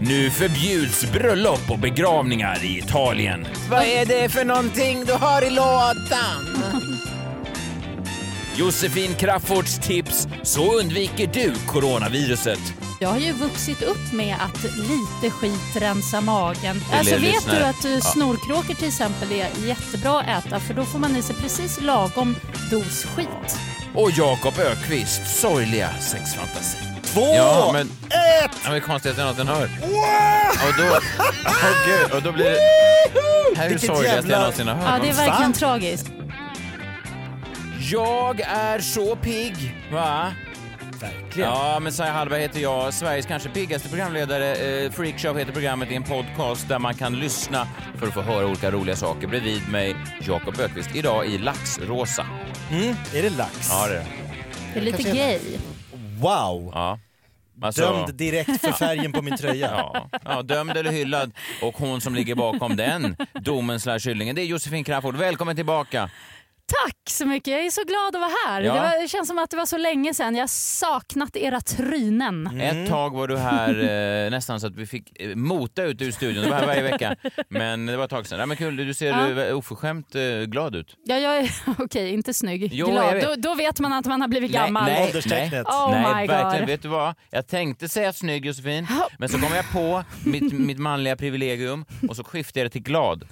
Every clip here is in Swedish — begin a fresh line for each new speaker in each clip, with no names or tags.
Nu förbjuds bröllop och begravningar i Italien. Vad är det för någonting du har i lådan? Josefin Crafoords tips. Så undviker du coronaviruset.
Jag har ju vuxit upp med att lite skit rensar magen. alltså vet
lyssnare.
du att eh, snorkråkor till exempel är jättebra att äta för då får man i sig precis lagom dos skit.
Och Jakob Ökvist sorgliga sexfantasi.
Två!
Ja, men...
Ett!
Ja, men konstigt att den hör.
Wow!
Och då... Åh gud, och då blir det... Det här är det
Vilket
sorgligaste
jävla-
jag någonsin har hört.
Ja, det är verkligen
fan?
tragiskt.
Jag är så pigg, va?
Verkligen.
Ja, men Saja Hallberg heter jag, Sveriges kanske piggaste programledare. Eh, Freakshow heter programmet, det är en podcast där man kan lyssna för att få höra olika roliga saker. Bredvid mig, Jakob Ökvist, idag i Laxrosa.
Är det lax?
det är
Det är lite gay.
Wow!
ja. Alltså,
Dömd direkt för färgen på min tröja.
Ja, ja, dömd eller hyllad. Och hon som ligger bakom den domen slash hyllningen, det är Josefin Crafoord. Välkommen tillbaka!
Tack så mycket, jag är så glad att vara här.
Ja.
Det, var, det känns som att det var så länge sedan. Jag har saknat era trynen.
Mm.
Ett tag var du här eh, nästan så att vi fick eh, mota ut ur studion. Du var här varje vecka. Men det var ett tag sedan. Ja, men kul, du ser
Ja.
eh, oförskämt eh, glad ut.
Ja, jag är, okej, inte snygg.
Jo, jag
glad.
vet.
Då, då vet man att man har blivit gammal.
Nej, nej.
Ålderstecknet.
Oh
Nej,
my
verkligen.
god.
Vet du vad? Jag tänkte säga snygg Josefin, men så kom jag på mitt, mitt manliga privilegium och så skiftade jag det till glad.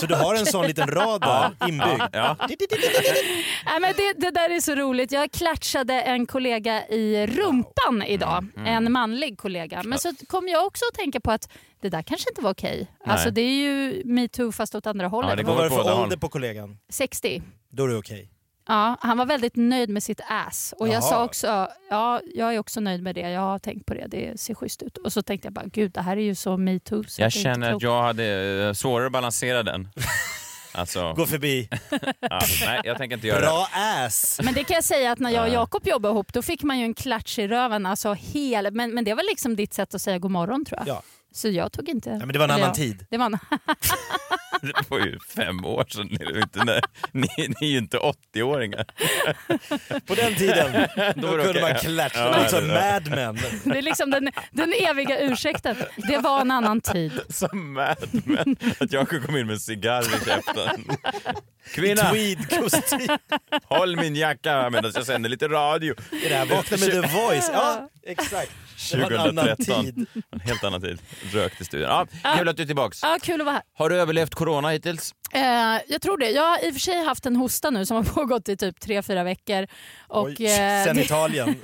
Så du har en sån liten rad där inbyggd.
Ja.
Nej, men det, det där är så roligt. Jag klatschade en kollega i rumpan idag.
Mm,
En manlig kollega. Men så kom jag också att tänka på att det där kanske inte var okej. Alltså det är ju metoo fast åt andra hållet.
Ja, det går
Vad var det
åt båda
för
håll.
ålder på kollegan?
60.
Då är det okej.
Ja, han var väldigt nöjd med sitt ass. Och jag
Jaha.
sa också, ja jag är också nöjd med det. Jag har tänkt på det. Det ser schysst ut. Och så tänkte jag bara, gud det här är ju så metoo. så
Jag
det är inte
känner att
klokt.
jag hade eh, svårare att balansera den. Alltså,
Gå förbi.
ja, nej, jag tänker inte göra det.
Bra ass!
Men det kan jag säga att när jag och Jakob jobbade ihop då fick man ju en klatsch i röven. Alltså hel, men, men det var liksom ditt sätt att säga god morgon tror jag.
Ja.
Så jag tog inte...
Ja, men det var en
eller
annan
jag-
tid.
Det var en...
Det var ju fem år sedan. Ni är ju inte, nej, ni, ni är ju inte 80-åringar.
På den tiden då
var det
kunde
okej.
man klättra.
Ja,
Det var som
det
Mad Men.
Det är liksom den, den eviga ursäkten. Det var en annan tid.
Som Mad Men. Att Jakob kom in med en cigarr i käften. Kvinna,
Tweedkostym.
håll min jacka medan jag sänder lite radio.
Det där Vakna med The Voice. Ja, exakt. Det var en annan
2013.
tid.
En helt annan tid. Rökt i studion. Ja, kul att du är tillbaks.
Ja, kul att vara här.
Har du överlevt corona hittills?
Eh, jag tror det. Jag har i och för sig haft en hosta nu som har pågått i typ 3-4 veckor. Och,
Oj,
eh,
Sen
det-
Italien.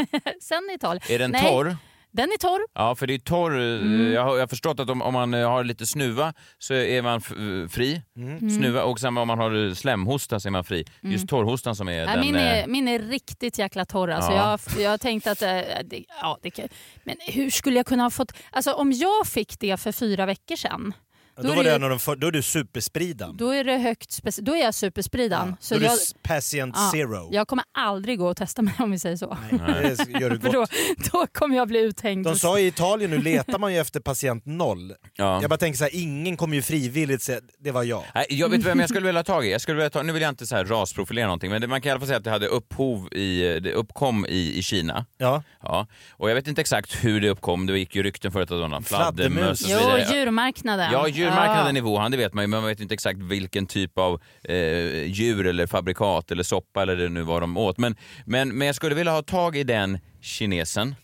sen Italien.
Är den
Nej, Mm.
torr?
Den är torr.
Ja, för det är torr. eh, Jag, har, jag har förstått att om, om man eh, har lite snuva så är man f- eh, fri.
Mm.
Snuva och samma om man har eh, slemhosta så är man fri. Just torrhostan som är
Nej,
den...
Mm. min,
eh,
är, min är riktigt jäkla torr. Alltså,
Ja.
jag, jag tänkte att... eh, Det, ja, det, kan- men hur skulle jag kunna ha fått... Alltså, om jag fick det för fyra veckor sedan,
Ja,
Då
Då,
är
var
det
det
ju-
en av de för, då är du superspridan.
då är, det högt spec- då är jag superspridan.
Då
Så
är du
jag,
s- patient
Ja,
zero.
Jag kommer aldrig gå och testa mig om vi säger så.
Nej, det gör du
För
gott.
då, då kommer jag bli uthängd.
De sa i Italien nu letar man ju efter patient noll.
ja.
Jag bara tänker så här, ingen kommer ju frivilligt säga det var jag.
Nej, jag vet vem jag skulle vilja ha tag i. Jag skulle vilja ta, nu vill jag inte så här rasprofilera någonting, men det, man kan i alla fall säga att det hade upphov i, det uppkom i, i Kina.
Ja.
Ja. Och jag vet inte exakt hur det uppkom. Det gick ju rykten förut att det var någon
Fladdermus.
fladdermus och så vidare.
Jo, djurmarknaden.
Ja, djurmarknaden i
Ja.
Wuhan, det vet man ju, men man vet inte exakt vilken typ av eh, djur eller fabrikat eller soppa eller det nu var de åt. Men, men, men jag skulle vilja ha tag i den kinesen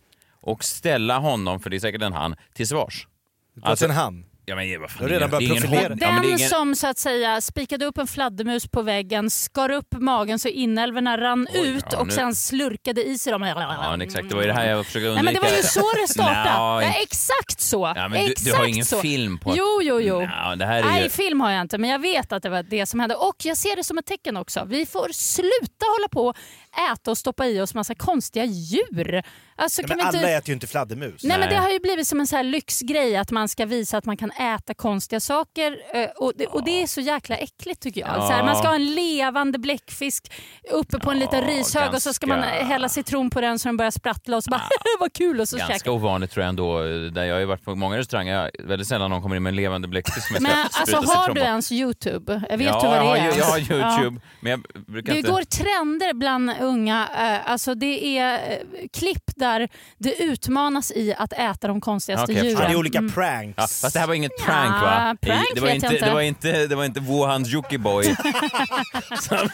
och ställa honom, för det är säkert en han, till svars.
Alltså, en han.
ja, men, vad fan,
Du har redan
det är
börjat
ingen-
profilera.
ingen- ja,
Den
men det är ingen-
som så att säga spikade upp en fladdermus på väggen, skar upp magen så inälvorna rann ut
ja,
och
nu-
sen slurkade i sig dem.
Ja, men exakt. Det var ju det här jag försökte undvika.
Mm. Nej, men det var ju så det startade.
Nej.
ja, exakt så.
Ja, men du,
exakt
du har ingen
så.
film på att-
Jo, jo, jo.
Nja, det här är
Nej,
ju...
film har jag inte, men jag vet att det var det som hände. Och jag ser det som ett tecken också. Vi får sluta hålla på och äta och stoppa i oss massa konstiga djur. Alltså, kan
Men
vi
alla
inte...
äter ju inte fladdermus.
Nej, men
Nej.
Det har ju blivit som en så här lyxgrej att man ska visa att man kan äta konstiga saker. eh, Och det, och det är så jäkla äckligt tycker jag.
Ja.
Så här, man ska ha en levande bläckfisk uppe på en liten
Ja,
rishög och så ska man
ganska-
hälla citron på den så den börjar sprattla och så bara vad kul och så
Ganska
käkar
ovanligt tror jag ändå. Där jag har ju varit på många restauranger, jag, väldigt sällan någon kommer in med en levande bläckfisk som jag ska
Men alltså
spruta
har
citron
du
på.
ens Youtube? Vet
ja,
du vad
jag
det
har,
är?
ju- Jag har
ens?
Youtube, men jag brukar
Det
inte...
går trender bland unga. eh, Alltså det är eh, klipp där det utmanas i att äta de konstigaste
Okej, jag
djuren.
förstår.
Ja, det är olika
Mm.
Ja,
pranks.
Ah, fast det här var inget prank va?
Nja, prank
det, var
vet
inte,
jag inte.
det var inte Det var inte Wuhan Jockiboi. Som-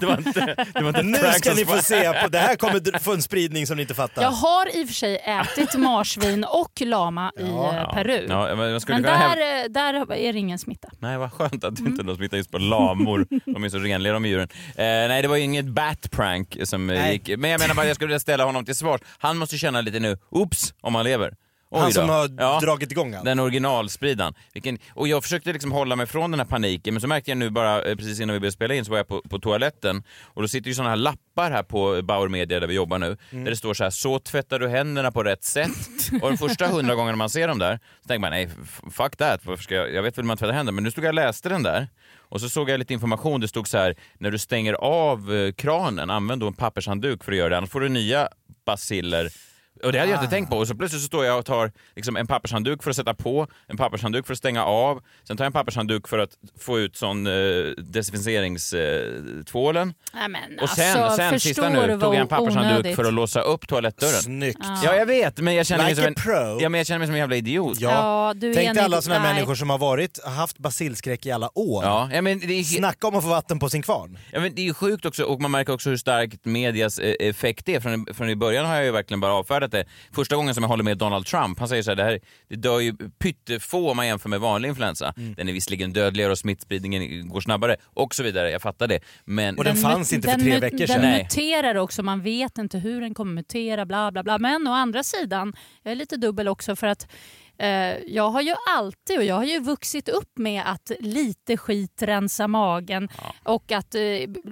det var inte, det var inte ett
Nu
prank
ska
som
ni få
var-
se, på, det här kommer dr- få en spridning som ni inte fattar.
Jag har i och för sig ätit marsvin och lama i eh, Peru.
Ja, men jag skulle
Men
kunna hävda-
där, Mm. eh, där är det ingen smitta.
Nej, vad skönt att du inte har någon smitta just på lamor. De är så renliga de djuren. Eh, nej, det var ju inget bat-prank som eh,
Nej.
gick. Men jag menar bara, jag skulle vilja ställa honom till svars. Han måste känna lite nu, oops, om han lever. Oj
Han
då.
som har dragit igång allt.
Den originalspridan. Vilken, och jag försökte liksom hålla mig från den här paniken, men så märkte jag nu bara eh, precis innan vi började spela in så var jag på, på toaletten och då sitter ju såna här lappar här på Bauer Media där vi jobbar nu.
Mm.
Där det står så här, så tvättar du händerna på rätt sätt. och de första hundra gångerna man ser dem där, så tänker man nej, f- fuck that, varför ska jag, jag vet väl hur man tvättar händerna, men nu stod jag och läste den där. Och så såg jag lite information, det stod så här, när du stänger av eh, kranen, använd då en pappershandduk för att göra det, annars får du nya basiller och det hade jag inte tänkt på. Och så plötsligt så står jag och tar liksom en pappershandduk för att sätta på, en pappershandduk för att stänga av, sen tar jag en pappershandduk för att få ut sån eh, desinficeringstvålen. Eh, tvålen.
Nej, men
och sen,
alltså,
sen sista
förstår du
nu,
vad
tog jag en pappershandduk
onödigt?
för att låsa upp toilettdörren.
Snyggt.
Ja, jag vet, men jag känner,
Like
mig,
a
som en,
pro.
ja, men jag känner mig som en jävla idiot. Ja,
Ja, du är
Tänk
en
dig alla
idiot.
såna här
Nej.
människor som har varit, haft basilskräck i alla år.
ja, men det är,
Snacka om att få vatten på sin kvarn.
Ja, men det är ju sjukt också och man märker också hur starkt medias eh, effekt är. Från, från i början har jag ju verkligen bara avfärdat det. Första gången som jag håller med Donald Trump, han säger så här, det, här, det dör ju pyttefå om man jämför med vanlig influensa.
Mm.
Den är visserligen dödligare och smittspridningen går snabbare och så vidare, jag fattar det. Men...
Och den fanns inte för
den
tre
mut-
veckor
Den
sedan.
Nej.
muterar också, man vet inte hur den kommer mutera, bla bla bla. Men å andra sidan, jag är lite dubbel också för att eh, jag har ju alltid, och jag har ju vuxit upp med att lite skit rensar magen och att eh,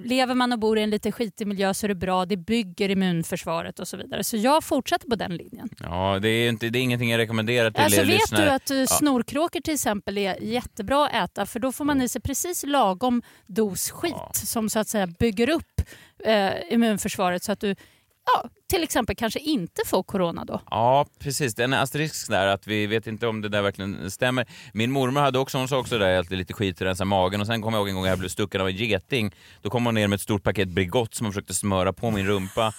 lever man och bor i en lite skitig miljö så är det bra, det bygger immunförsvaret och så vidare. Så jag fortsätter på den linjen.
Ja, det är, inte, det är ingenting jag rekommenderar till
Alltså
er
vet
lyssnare.
du att eh, snorkråkor till exempel är jättebra att äta för då får man i sig precis lagom dos skit som så att säga bygger upp eh, immunförsvaret så att du ja, till exempel kanske inte får corona då.
Ja, precis. Det är en asterisk där, att vi vet inte om det där verkligen stämmer. Min mormor hade också, hon sa också det där att det är lite skit att rensa magen och sen kommer jag ihåg en gång jag blev stucken av en geting. Då kom hon ner med ett stort paket Bregott som hon försökte smöra på min rumpa.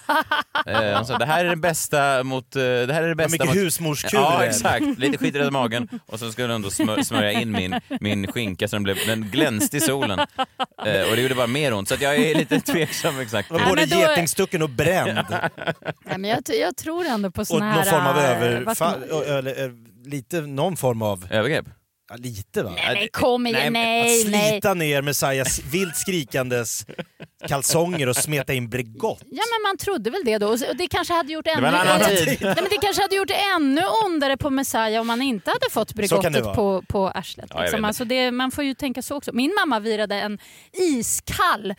eh, hon sa det här är det bästa mot... eh, Det här är det bästa
mycket
mot...
husmorskur
Ja,
det är.
exakt. Lite skit i rensa magen och sen skulle hon då smör, smörja in min, min skinka så den, blev, den glänste i solen. Eh, och det gjorde bara mer ont, så att jag är lite tveksam exakt.
Det var
Nej,
både
men då-
getingstucken och bränd.
Nej, men jag, t- jag tror ändå på
och
såna här...
någon form av
eh,
över...
vad ska man-
fa- ö- Eller, ö- lite, någon form av...
Övergrepp?
Ja, lite va?
Nej, men kom igen,
Att
nej, nej.
slita ner Messias vilt skrikandes kalsonger och smeta in Bregott.
Ja men man trodde väl det då. Och så- och det kanske hade gjort ännu,
var en annan
eller-
tid.
Nej, men det kanske hade gjort ännu ondare på Messiah om man inte hade fått
kan det
Bregottet
vara.
på, på arslet.
Ja, jag vet
liksom.
det.
alltså det, man får ju tänka så också. Min mamma virade en iskall,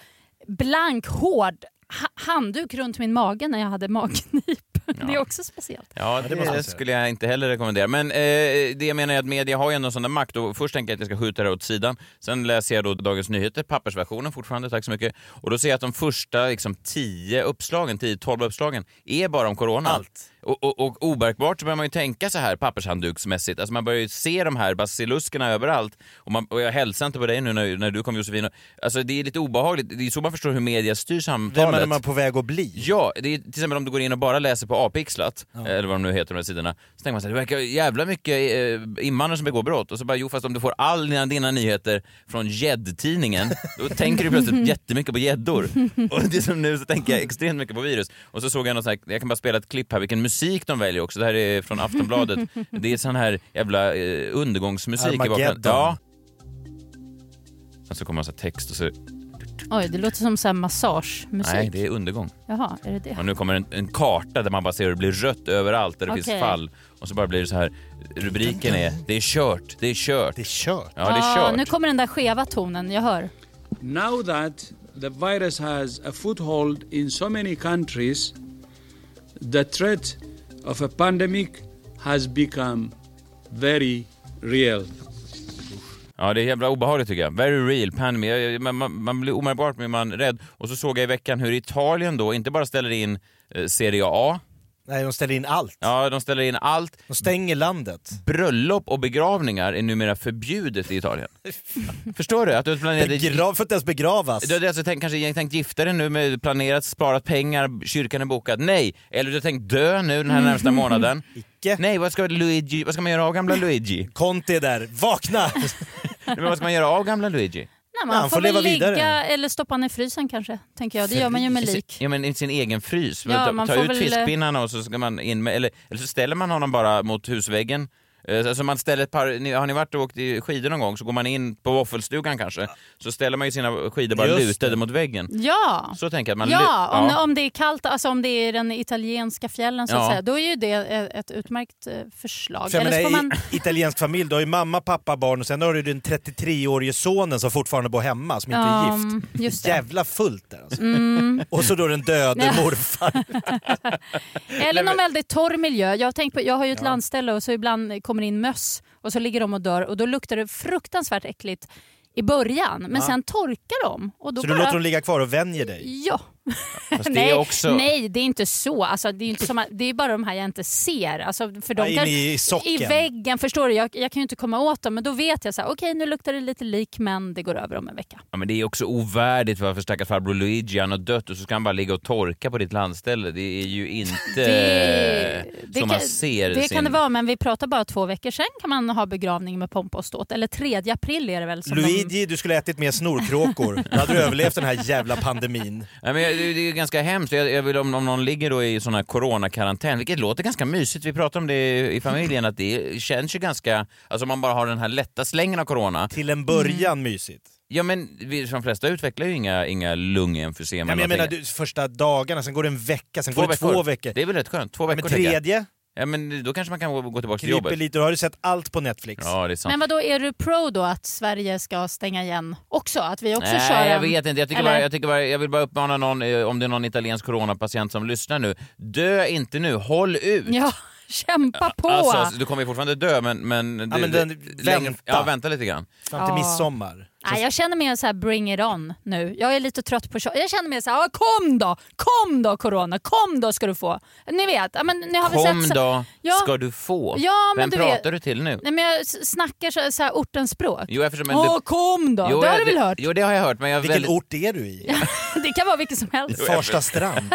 blank, hård ha- handduk runt min mage när jag hade magknip. Det är också speciellt.
Ja, det, skulle jag inte heller rekommendera. Men eh, det jag menar är att media har ju ändå sån där makt. Och först tänker jag att jag ska skjuta det här åt sidan. Sen läser jag då Dagens Nyheter, pappersversionen fortfarande, tack så mycket. Och då ser jag att de första liksom, tio uppslagen, 10-12 uppslagen, är bara om corona.
Allt.
Och, och, och oberkbart så börjar man ju tänka så här pappershandduksmässigt. Alltså man börjar ju se de här basiluskerna överallt. Och, man, och jag hälsar inte på dig nu när, när du kom Josefin. Alltså det är lite obehagligt. Det är så man förstår hur media styr samtalet.
Vem är man på väg att bli?
Ja, det är, till exempel om du går in och bara läser på A-pixlat, eh, eller vad de nu heter de här sidorna, så tänker man så här, det verkar jävla mycket eh, invandrare som begår brott. Och så bara, jo fast om du får all dina, dina nyheter från gäddtidningen, då tänker du plötsligt jättemycket på gäddor. Och det är som nu så tänker jag extremt mycket på virus. Och så såg jag något sånt här, jag kan bara spela ett klipp här, vilken musik de väljer också. Det här är från Aftonbladet. Det är sån här jävla eh, undergångsmusik i bakgrunden.
Armageddon.
Ja. Och så kommer en sån här text och så,
Oj, det låter som så här massagemusik.
nej det är undergång.
Jaha, är det det?
Och nu kommer en, en karta där man bara ser hur det blir rött överallt där det finns
Okej.
fall. Och så bara blir det så här. Rubriken är Det är kört, det är kört.
Det är kört.
Ja, det är
Ah, nu
kört.
kommer den där skeva tonen, jag hör.
Now that the virus has a foothold in so many countries, the threat of a pandemic has become very real.
Ja, det är jävla obehagligt tycker jag. Very real pandemic. Jag- jag- Man, man, man blir omedelbart blir man rädd. Och så såg jag i veckan hur Italien då inte bara ställer in eh, Serie A,
Nej, de ställer in allt.
ja, de ställer in allt.
De stänger landet.
Bröllop och begravningar är numera förbjudet i Italien. Förstår du? Att du planerade...
Begrav, får inte ens begravas.
Du hade alltså tänkt, kanske jag tänkt gifta dig nu, med planerat, sparat pengar, kyrkan är bokad. Nej! Eller du har tänkt dö nu den här närmsta månaden.
Icke.
Nej, vad ska, Luigi, vad ska man göra av gamla Luigi?
Conte är där, vakna!
Men vad ska man göra av gamla Luigi?
Nej, man,
Nej, han
får,
får leva
väl ligga
vidare.
eller stoppa ner i frysen kanske, tänker jag. Det gör man ju med
I sin-
lik.
Ja, men i sin egen frys.
Ja,
ta
man
ta
får
ut
väl- eh,
fiskpinnarna och så ska man in med, eller, eller så ställer man honom bara mot husväggen. Eh, Alltså man ställer ett par, ni- har ni varit och åkt i skidor någon gång så går man in på våffelstugan kanske, så ställer man ju sina skidor bara
Just det.
lutade mot väggen.
Ja,
Så tänker jag att man... lu-
ja om, om det är kallt, alltså om det är den italienska fjällen så att
Ja.
säga, då är ju det ett- ett utmärkt eh, förslag.
För jag
Eller så
menar,
får man...
i, italiensk familj, du har ju mamma, pappa, barn och sen har du den 33-årige sonen som fortfarande bor hemma, som inte är gift.
Um, just det. Mm.
Jävla fullt där alltså. Och så då den döde
Ja.
morfar.
Eller någon väldigt torr miljö. Jag har, tänkt på, jag har ju ett landställe och så ibland kommer in möss och så ligger de och dör och då luktar det fruktansvärt äckligt i början men sen torkar de. Och då
Så du
bara...
låter dem ligga kvar och vänjer dig.
Ja.
Fast det
nej,
är också...
nej, det är inte så. Alltså, det, är ju inte som att, det är bara de här jag inte ser. Alltså, för de
Ja, in
kan,
i socken.
I väggen, förstår du? Jag, jag kan ju inte komma åt dem men då vet jag så här, okej nu luktar det lite lik men det går över om en vecka.
Ja, men det är också ovärdigt varför stackars farbror Luigi, han har dött och så ska han bara ligga och torka på ditt landställe. Det är ju inte Eh, som man ser
det
sin...
kan det vara men vi pratar bara två veckor sen kan man ha begravning med pompa och ståt. Eller 3 april är det väl? Som de...
Luigi, du skulle ha ätit mer snorkråkor. Då hade du överlevt den här jävla pandemin.
Nej, men jag- det det är ganska hemskt. Jag, jag vill om, om någon ligger då i sån här coronakarantän, vilket låter ganska mysigt. Vi pratade om det i familjen, att det känns ju ganska... Alltså om man bara har den här lätta slängen av corona.
Till en början mysigt.
Mm. Ja men vi, de flesta utvecklar ju inga, inga lungemfysem.
Ja, men
eller
jag menar
någonting.
du, första dagarna, sen går det en vecka, sen går det två veckor.
Det är väl rätt skönt? Två veckor
men
tänker jag.
tredje,
Ja men då kanske man kan gå- gå tillbaka till
kryper
jobbet.
lite. Då har du sett allt på Netflix.
Ja, det är sant.
Men vad då är du pro då att Sverige ska stänga igen också? Att vi också kör
Nej, jag
en-
vet inte. Jag, tycker
Eller?
bara, jag, tycker bara, jag vill bara uppmana någon, eh, om det är någon italiensk coronapatient som lyssnar nu, dö inte nu, håll ut!
Ja, kämpa på!
Alltså, alltså, du kommer ju fortfarande dö, men... men, det,
men den-
det-
vänta.
ja, vänta lite grann.
Fram till
Ja.
midsommar.
Nej, jag känner mer så här bring it on nu. Jag är lite trött på tjo- Jag känner mer så här, "Ja, kom då! Kom då corona, kom då ska du få. Ni vet, ja, men ni har väl
Kom
sett... så-
då,
Ja.
ska du få.
Ja, men
Vem
du
pratar
vet-
du till nu?
Nej men jag s- snackar så, så här ortens språk.
Jo, eftersom... men
Åh, kom då!
Jo,
det har
jag-
du väl hört?
Jo, det har jag hört, men jag,
Vilken
väldigt,
ort är du i?
Det kan vara vilket som helst.
Farsta strand.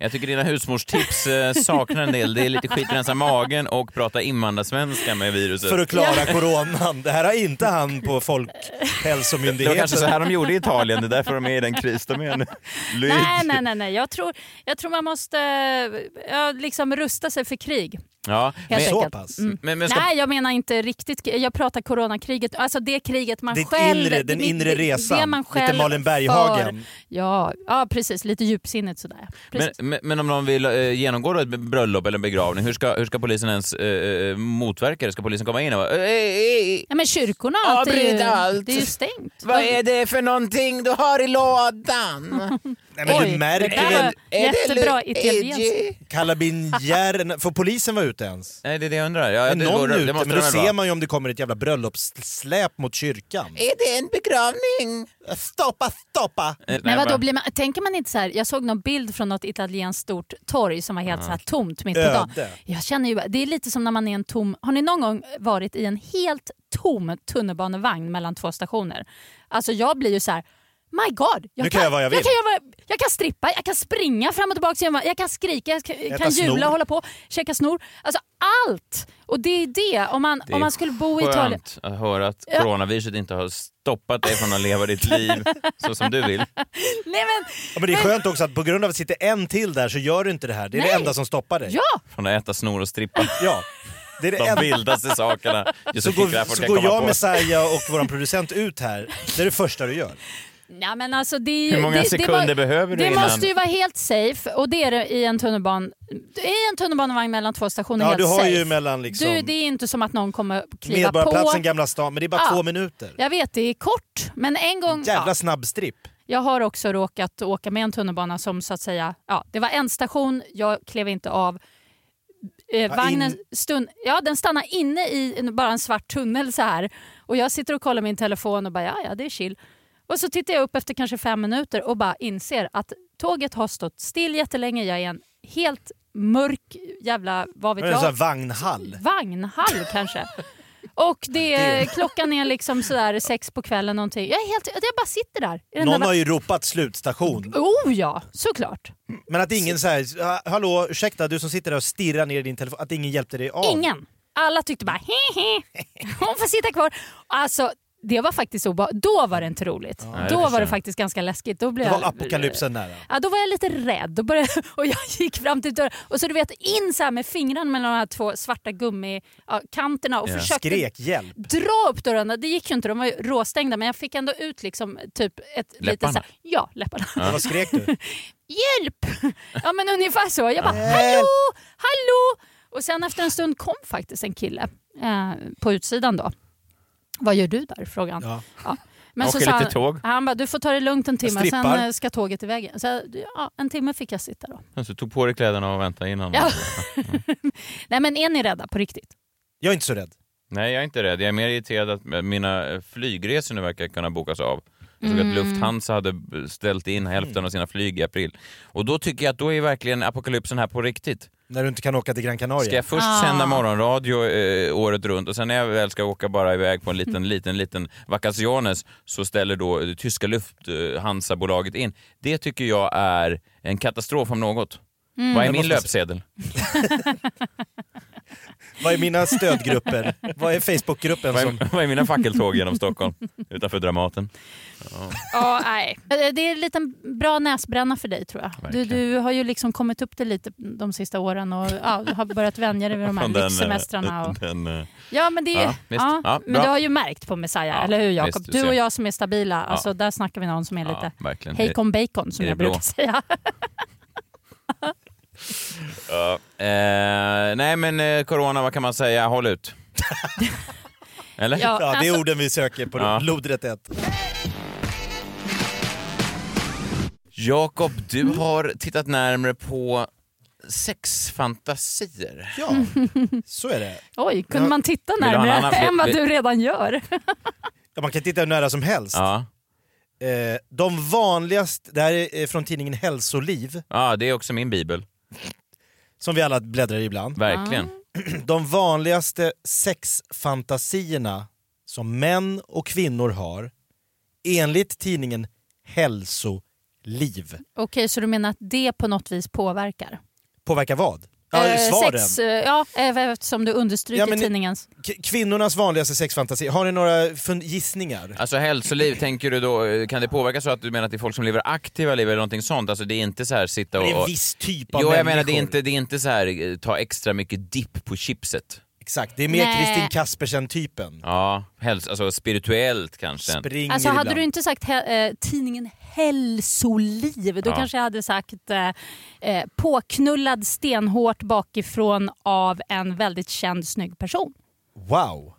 jag tycker dina husmorstips eh, saknar en del. Det är lite skitrensa magen och prata invandrarsvenska med viruset.
för att klara coronan. Det här har inte han på
Det var
Folkhälsomyndigheten.
kanske så här de gjorde i Italien, det är därför de är i den kris de är nu. Luigi.
Nej, nej, nej. nej. Jag, tror, jag tror man måste eh, ja, liksom rusta sig för krig.
Ja, men,
Helt
Så
enkelt. Mm.
pass.
men, men ska
Nej, jag menar inte riktigt. Jag pratar coronakriget. Alltså det kriget man
Ditt
själv...
inre- den
det-
inre
det-
resan.
Det man
Lite
själv
Malin Berghagen.
för. Ja, ja, precis. Lite djupsinnigt sådär.
Men,
Precis.
men, men om någon vill eh, genomgå då ett bröllop eller en begravning, hur ska, hur ska polisen ens eh, eh, motverka det? Ska polisen komma in och bara, "Eh, "Ey, ey, ey,
ja, men kyrkorna och allt är,
Avbryt
ju,
allt.
det är ju stängt.
vad är det för någonting du har i lådan?
Nej, men
Oj,
du
det
märker
där
väl...
var- Jättebra
Luigi?
italienskt.
Kalabinjären... Får polisen vara ute ens?
Nej, det är det jag undrar. Ja,
Är
det,
någon
går-
ute? Men
måste
då
de väl
ser
vara.
man ju om det kommer ett jävla bröllopssläp mot kyrkan.
Är det en begravning?
Stoppa, stoppa!
Eh,
Men vadå,
bara-
blir man, tänker man inte så här, jag såg någon bild från något italienskt stort torg som var helt så här tomt mitt på
Öde.
dagen. Jag känner ju, det är lite som när man är en tom, har ni någon gång varit i en helt tom tunnelbanevagn mellan två stationer? Alltså jag blir ju så här, my god, jag,
Nu kan jag vad jag vill.
kan, göra vad- jag kan strippa, jag kan springa fram och tillbaka, jag- jag kan skrika, jag kan, kan
snor.
jula, hålla på, käka snor. Alltså allt! Och det är det, om man,
Det är
om man skulle bo i
skönt
Italien.
att höra att coronaviruset inte har stoppat dig från att leva ditt liv så som du vill.
Nej men,
Ja, men det är skönt också att på grund av att det sitter en till där så gör du inte det här. Det är det
Nej.
enda som stoppar dig.
ja!
Från att äta snor och strippa.
Ja. Det är det
De
enda.
vildaste sakerna
Så
Josefin
går,
Crafoord
så
kan
går
komma
jag,
på.
Messiah och vår producent ut här. Det är det första du gör.
Ja, men alltså det, är ju-
Hur många
det,
sekunder
det, var-
behöver du
Det
innan-
måste ju vara helt safe och det är det i en tunnelban i en tunnelbanevagn mellan två stationer
Ja,
helt
du har
safe.
ju mellan liksom...
du, det är inte som att någon kommer kliva på.
Medborgarplatsen, Gamla stan. Men det är bara
Ja.
två minuter.
Jag vet, det är kort. Men en gång...
Jävla
Ja,
snabbstripp.
jag har också råkat åka med en tunnelbana som så att säga... Ja, det var en station, jag klev inte av. Eh,
Ja,
vagnen
in-
stund, ja, den stannar inne i en, bara en svart tunnel så här. Och jag sitter och kollar min telefon och bara ja, ja, det är chill. Och så tittar jag upp efter kanske fem minuter och bara inser att tåget har stått still jättelänge. Jag är i en helt mörk jävla, vad vet
Det är en sån här
jag,
vagnhall.
vagnhall kanske. Och det är, klockan är liksom sådär sex på kvällen någonting. Jag, är helt, jag bara sitter där. I den
Någon
där
har
va-
ju ropat slutstation.
Oh ja, såklart.
Men att ingen säger hallå ursäkta du som sitter där och stirrar ner i din telefon, att ingen hjälpte dig av.
Ingen. Alla tyckte bara hehe, hon får sitta kvar. Alltså det var faktiskt obehagligt. Då var det inte roligt.
jag
då var
förstår.
det faktiskt ganska läskigt. Då blev
Det var
jag-
apokalypsen nära.
Ja, då var jag lite rädd och, började, och jag gick fram till dörren och så du vet in så här med fingrarna mellan de här två svarta gummikanterna och
Ja.
försökte
Skrek hjälp.
dra upp dörrarna. Det gick ju inte, de var ju råstängda men jag fick ändå ut liksom typ ett litet
Läpparna.
så här, ja läpparna.
Men Vad skrek du?
Hjälp! Ja men ungefär så. Jag bara hallå, hallå! Och sen efter en stund kom faktiskt en kille eh, på utsidan då. Vad gör du där? frågade han.
Ja.
Ja. Men
Åker
sa
lite
han,
tåg.
Han bara, du får ta det lugnt en timme, sen
strippar.
eh, ska tåget iväg. igen." Så, jag, ja, en timme fick jag sitta då.
Så tog på dig kläderna och väntade innan.
Ja. Nej men är ni rädda på riktigt?
Jag är inte så rädd.
Nej, jag är inte rädd. Jag är mer irriterad att mina eh, flygresor nu verkar kunna bokas av. Jag
Mm.
såg att Lufthansa hade b- ställt in
Mm.
hälften av sina flyg i april. Och då tycker jag att då är verkligen apokalypsen här på riktigt.
När du inte kan åka till Gran Canaria.
Ska jag först
Ah.
sända morgonradio eh, året runt och sen när jag väl ska åka bara iväg på en liten, liten, liten vacationes så ställer då det tyska Lufthansa-bolaget in. Det tycker jag är en katastrof om något.
Mm.
Vad är
Jag
min
måste-
löpsedel?
Vad är mina stödgrupper? Vad är Facebookgruppen
Vad
som...
är, vad är mina fackeltåg genom Stockholm utanför Dramaten?
Ja, nej. Eh, Det är en liten bra näsbränna för dig tror jag. Du,
Verkligen.
du har ju liksom kommit upp det lite de sista åren och ja, har börjat vänja dig vid de här
Från den, eh,
lyxsemestrarna. Och...
den, eh,
Ja, men, det är,
Ja,
ja,
visst. Ja,
men
bra.
du har ju märkt på Messiah,
Ja,
eller hur
visst,
Jakob?
du
Du och
ser.
jag som är stabila, alltså, där snackar vi någon som är
ja,
lite
verkligen. Det-
hejkon bacon
det
som
är
jag
blå.
brukar säga.
Eh, nej men eh, corona, vad kan man säga? Håll ut. Eller?
Ja,
Ja, det är
alltså-
orden vi söker på
Ja.
lodrätt 1.
Jakob, du har tittat närmre på sexfantasier.
Ja, så är det.
Oj, kunde
Ja.
man titta
du ha en
närmare
annan fl-
än vad
vill-
du redan gör?
Ja, man kan titta hur nära som helst.
Ja,
Eh, de vanligaste, det här är eh, från tidningen Hälsoliv,
ja det är också min bibel.
som vi alla bläddrar i ibland.
Verkligen.
De vanligaste sexfantasierna som män och kvinnor har enligt tidningen Hälsoliv.
Okej, så du menar att det på något vis påverkar?
Påverkar vad? Ja,
Eh,
svaren.
sex, eh, ja, eh, eftersom du understryker
Ja, men-
tidningens.
K- kvinnornas vanligaste sexfantasi. Har ni några fun- gissningar?
Alltså hälsoliv, tänker du då, eh, kan det påverka så att du menar att det är folk som lever aktiva liv eller någonting sånt? Alltså det är inte så här sitta och...
Det är en viss typ av
Jo, jag
människor.
menar det är inte, det är inte så här eh, ta extra mycket dipp på chipset.
Exakt, det är mer
Nej.
Kristin Kaspersen-typen.
Ja, häls- alltså spirituellt kanske.
Springer
Alltså hade
ibland.
du inte sagt he- eh, tidningen Hälsoliv, då
Ja.
kanske jag hade sagt eh, eh, påknullad stenhårt bakifrån av en väldigt känd snygg person.
Wow!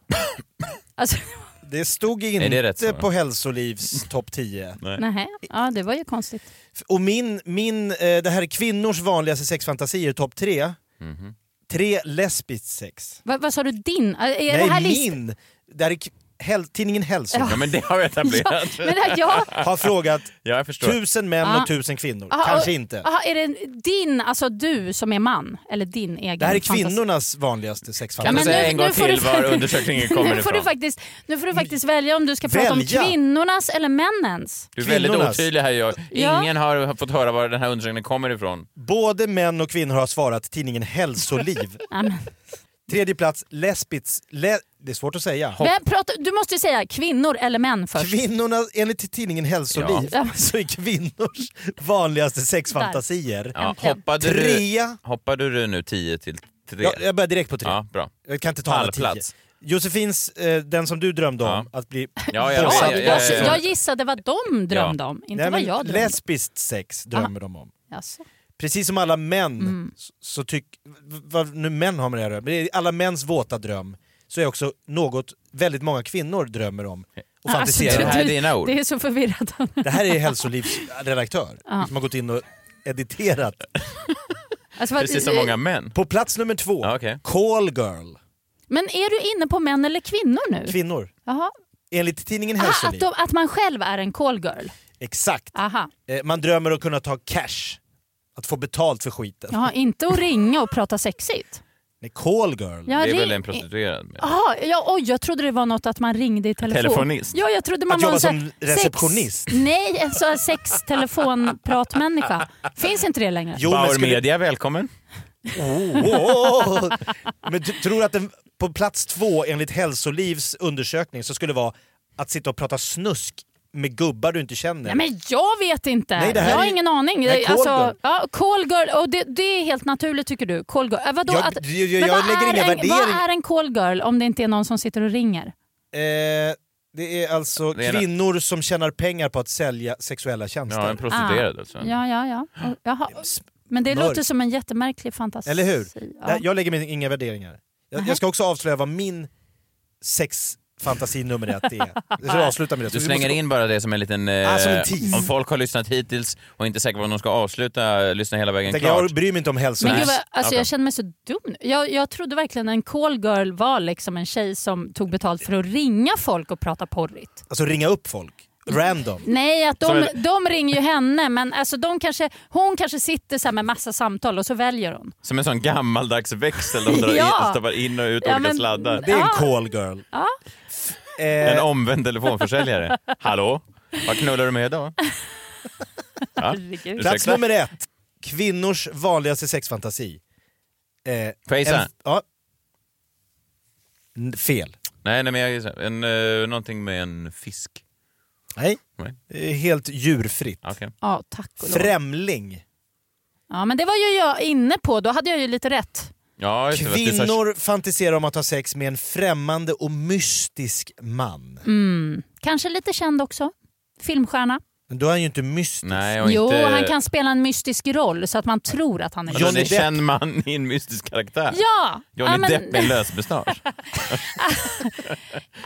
Alltså,
Det stod inte
det rätt svar?
på Hälsolivs topp 10.
nej. Ja, det var ju konstigt.
F- Och min, min, eh, det här är kvinnors vanligaste sexfantasier, topp 3.
Mhm.
Tre lesbiskt sex.
Va, vad sa du din? Är
Nej,
är det här list-
min! Det här är k- häl, tidningen Hälsoliv
Ja men det har vi
Ja,
etablerat.
men att jag,
har frågat
Ja, jag förstår.
tusen män
Ah.
och tusen kvinnor.
aha,
Kanske
och-
inte.
Aha, är det din, alltså du som är man? Eller din egen
Det här är
fantasi?
kvinnornas vanligaste
Kan
Ja,
du
men
sexfantasi.
nu-
säga en gång
nu får
till
du-
var undersökningen kommer
nu, får du
ifrån?
faktiskt, nu får du faktiskt välja om du ska prata om
Välja.
kvinnornas eller männens.
Du är väldigt
Kvinnornas.
otydlig här. Jag.
Ja.
Ingen har fått höra var den här undersökningen kommer ifrån.
Både män och kvinnor har svarat tidningen Hälsoliv.
Nej, men-
Tredje plats, lesbits... Le, det är svårt att säga.
Men prata, du måste ju säga kvinnor eller män först.
Kvinnorna, enligt tidningen Hälsoliv,
Ja.
så är kvinnors vanligaste sexfantasier
Ja.
Äntligen.
Hoppade, du,
trea.
hoppade du nu 10 till 3?
Ja, jag börjar direkt på tre.
Ja, bra.
Jag kan inte ta alla tio.
Pallplats.
Josefins, eh, den som du drömde om, att bli
Ja, ja,
Ja,
ja,
bossad.
ja,
jag,
ja, ja.
jag gissade vad de drömde om, inte
Nej,
vad
men
jag drömde om.
Lesbiskt sex drömmer de om.
Jaså.
Precis som alla män,
Mm.
så, så tyck, vad nu män har med det här att göra, men det är alla mäns våta dröm, så är också något väldigt många kvinnor drömmer om och
Alltså,
fantiserar
det
om.
du-
här är
du-
dina ord.
Det är så förvirrat.
Det här är Hälsolivs redaktör som har gått in och editerat
Alltså, vad-
Precis som många män.
På plats nummer två,
Ja, okej.
Call Girl.
Men är du inne på män eller kvinnor nu?
Kvinnor.
Jaha.
Enligt tidningen
Aha,
Hälsoliv.
att, Ah, de, Ah. att man själv är en call girl.
Exakt.
Aha.
Eh, Man drömmer att kunna ta cash. Att få betalt för skiten.
Jaha, inte att ringa och prata sexigt.
Nej, call girl.
Jag
Det är
ring-
väl en prostituerad? med.
Aha, ja, oj, jag trodde det var något att man ringde i telefon.
Telefonist.
Ja, jag trodde man
Att
var
jobba
en sån
som
här
receptionist.
Sex, nej, en sån här sextelefonpratmänniska. Finns inte det längre?
Jo,
Bauer
men skulle...
Media, välkommen.
Åh! Men du tror att den, på plats två enligt Hälsolivs undersökning så skulle det vara att sitta och prata snusk med gubbar du inte känner?
Nej, men jag vet inte.
Nej, det här
jag har
är-
ingen aning. Alltså,
det här är call girl.
ja, call girl, och det, det är helt naturligt tycker du. Call girl. Äh, vadå,
Jag-
att,
jag- jag
men vad
lägger
är
inga
en, Vad
värdering-
är en call girl om det inte är någon som sitter och ringer?
Eh, det är alltså
Det är en-
kvinnor som tjänar pengar på att sälja sexuella tjänster.
Ja, en prostituerad alltså.
Ah. Ja, ja, ja. Och- Jaha. Men det
Mörkt.
låter som en jättemärklig fantasi.
Eller hur?
Ja.
Nej, Jag lägger min, inga värderingar. Jag,
Nej.
jag ska också avslöja vad min sexfantasi nummer ett är. Jag ska avsluta med det.
Du
Så vi
slänger
måste-
in bara det som en liten... eh,
Ah, som en tease.
Om folk har lyssnat hittills och inte är säkra på om de ska avsluta, lyssna hela vägen
Tänk,
klart.
jag bryr mig inte om
Men
hälsan.
gud, vad, alltså,
Okej.
jag känner mig så dum. Jag, jag trodde verkligen en call girl var liksom en tjej som tog betalt för att ringa folk och prata porrigt.
Alltså ringa upp folk. Random.
Nej, att
Som
de,
en-
de ringer ju henne men alltså, de kanske, hon kanske sitter så här med massa samtal och så väljer hon.
Som en sån gammaldags växel de drar
Ja.
in, stoppar in och ut
Ja,
olika
men-
sladdar.
Det är en
Ja.
call girl. eh,
En omvänd telefonförsäljare. Hallå? Vad knullar du med idag? Ja.
Herregud.
Plats
Ursäkta?
nummer ett. Kvinnors vanligaste sexfantasi. Eh,
Får jag gissa?
en- ja. N- Fel.
Nej, nej, men jag gissar. En, uh, någonting med en fisk.
Nej.
Nej.
Eh, Helt djurfritt.
Okej.
Ja, tack och lov.
Främling.
Ja, men det var ju jag inne på, då hade jag ju lite rätt.
Ja, just det, vad du sa-
Kvinnor fantiserar om att ha sex med en främmande och mystisk man.
Kanske lite känd också. Filmstjärna.
Men då är han ju inte mystisk.
Nej, och
jo,
inte...
han kan spela en mystisk roll så att man tror att han är
Alltså,
Johnny
en
Depp.
känd man i en mystisk karaktär.
Ja!
Johnny
ja, men-
Depp med lösmustasch.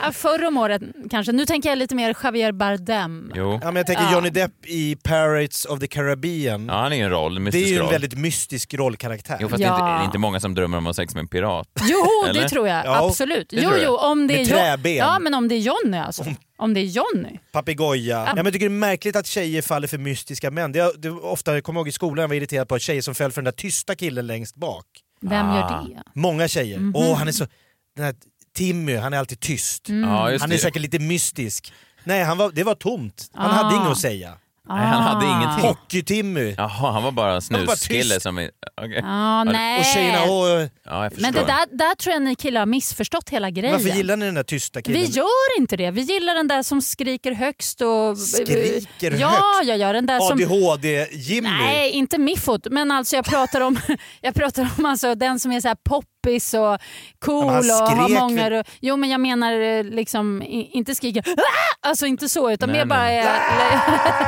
Ja, Förr om året kanske. Nu tänker jag lite mer Javier Bardem.
Jo.
Ja, men jag tänker
Ja.
Johnny Depp i Pirates of the Caribbean.
Ja, han är ju en roll, en
det är
mystisk
ju en
roll.
väldigt mystisk rollkaraktär.
Jo, fast
Ja.
det, är inte, det är inte många som drömmer om att ha sex med en pirat.
Jo,
Eller?
det tror jag.
Ja,
Absolut.
det
Jo,
tror jag.
jo, om det
Med
är
träben.
Johnny. Ja, men om det är Johnny alltså. Om det är Johnny.
Papegoja. Ja, men jag tycker det är märkligt att tjejer faller för mystiska män. Det, det, ofta, jag kommer ihåg i skolan jag var irriterad på tjejer som föll för den där tysta killen längst bak.
Vem gör det?
Många tjejer.
Mhm.
Åh, han är så... Den här Timmy, han är alltid tyst.
Mm.
Ja, just
han är
det.
säkert lite mystisk. Nej, han var, det var tomt.
Ah.
Han hade inget att säga.
Nej, han hade ingenting.
Hockey-Timmy.
Jaha, han var bara
var bara
snuskille
tyst.
som... är- Okej.
Ja, nej.
Och tjejerna, åh,
Ja, jag förstår.
men det där, där tror jag ni killar har missförstått hela grejen.
varför gillar ni den där tysta killen?
vi gör inte det. Vi gillar den där som skriker högst och...
Skriker
Ja,
högt?
ja, ja. Den där som...
ADHD-Jimmy?
Nej, inte miffot. Men alltså jag pratar om, jag pratar om alltså den som är så här poppis och cool
Ja, men han
och har
skrek
många...
väl-
ru- Jo men jag menar eh, liksom i- inte skrika "Ah!" alltså inte så utan
Nej,
mer bara... eh,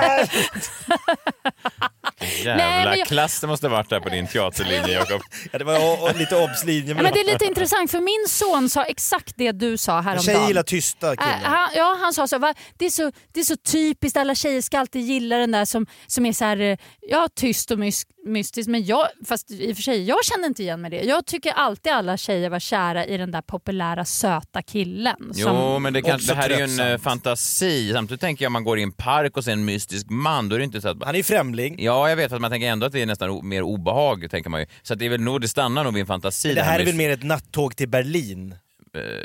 nej,
Nej,
Jävla
men jag-
klass det måste ha varit där på din teaterlinje, Jakob.
Ja, det var o- o- lite obslinje.
Ja, men det är lite intressant för min son sa exakt det du sa
Tjejer
häromdagen.
gillar tysta
Äh,
killar.
han, ja, han sa så, här, va, det, är så det är så typiskt, alla tjejer ska alltid gilla den där som, som är så här, eh, ja, tyst och mys- mystisk. Men jag, fast i och för sig, jag känner inte igen mig i det. Jag tycker alltid alla tjejer var kära i den där populära söta killen.
Jo, men det, kan,
Också
det här är ju en eh,
tröttsamt.
fantasi. Samtidigt tänker jag om man går i en park och ser en mystisk man, då är det inte så att...
Han är ju främling.
Ja, jag vet, att man tänker ändå att det är nästan o- mer obehag, tänker man ju. Så att det är väl nog, det stannar nog vid en fantasi.
Det här är
med- Eh,
väl mer ett nattåg till Berlin?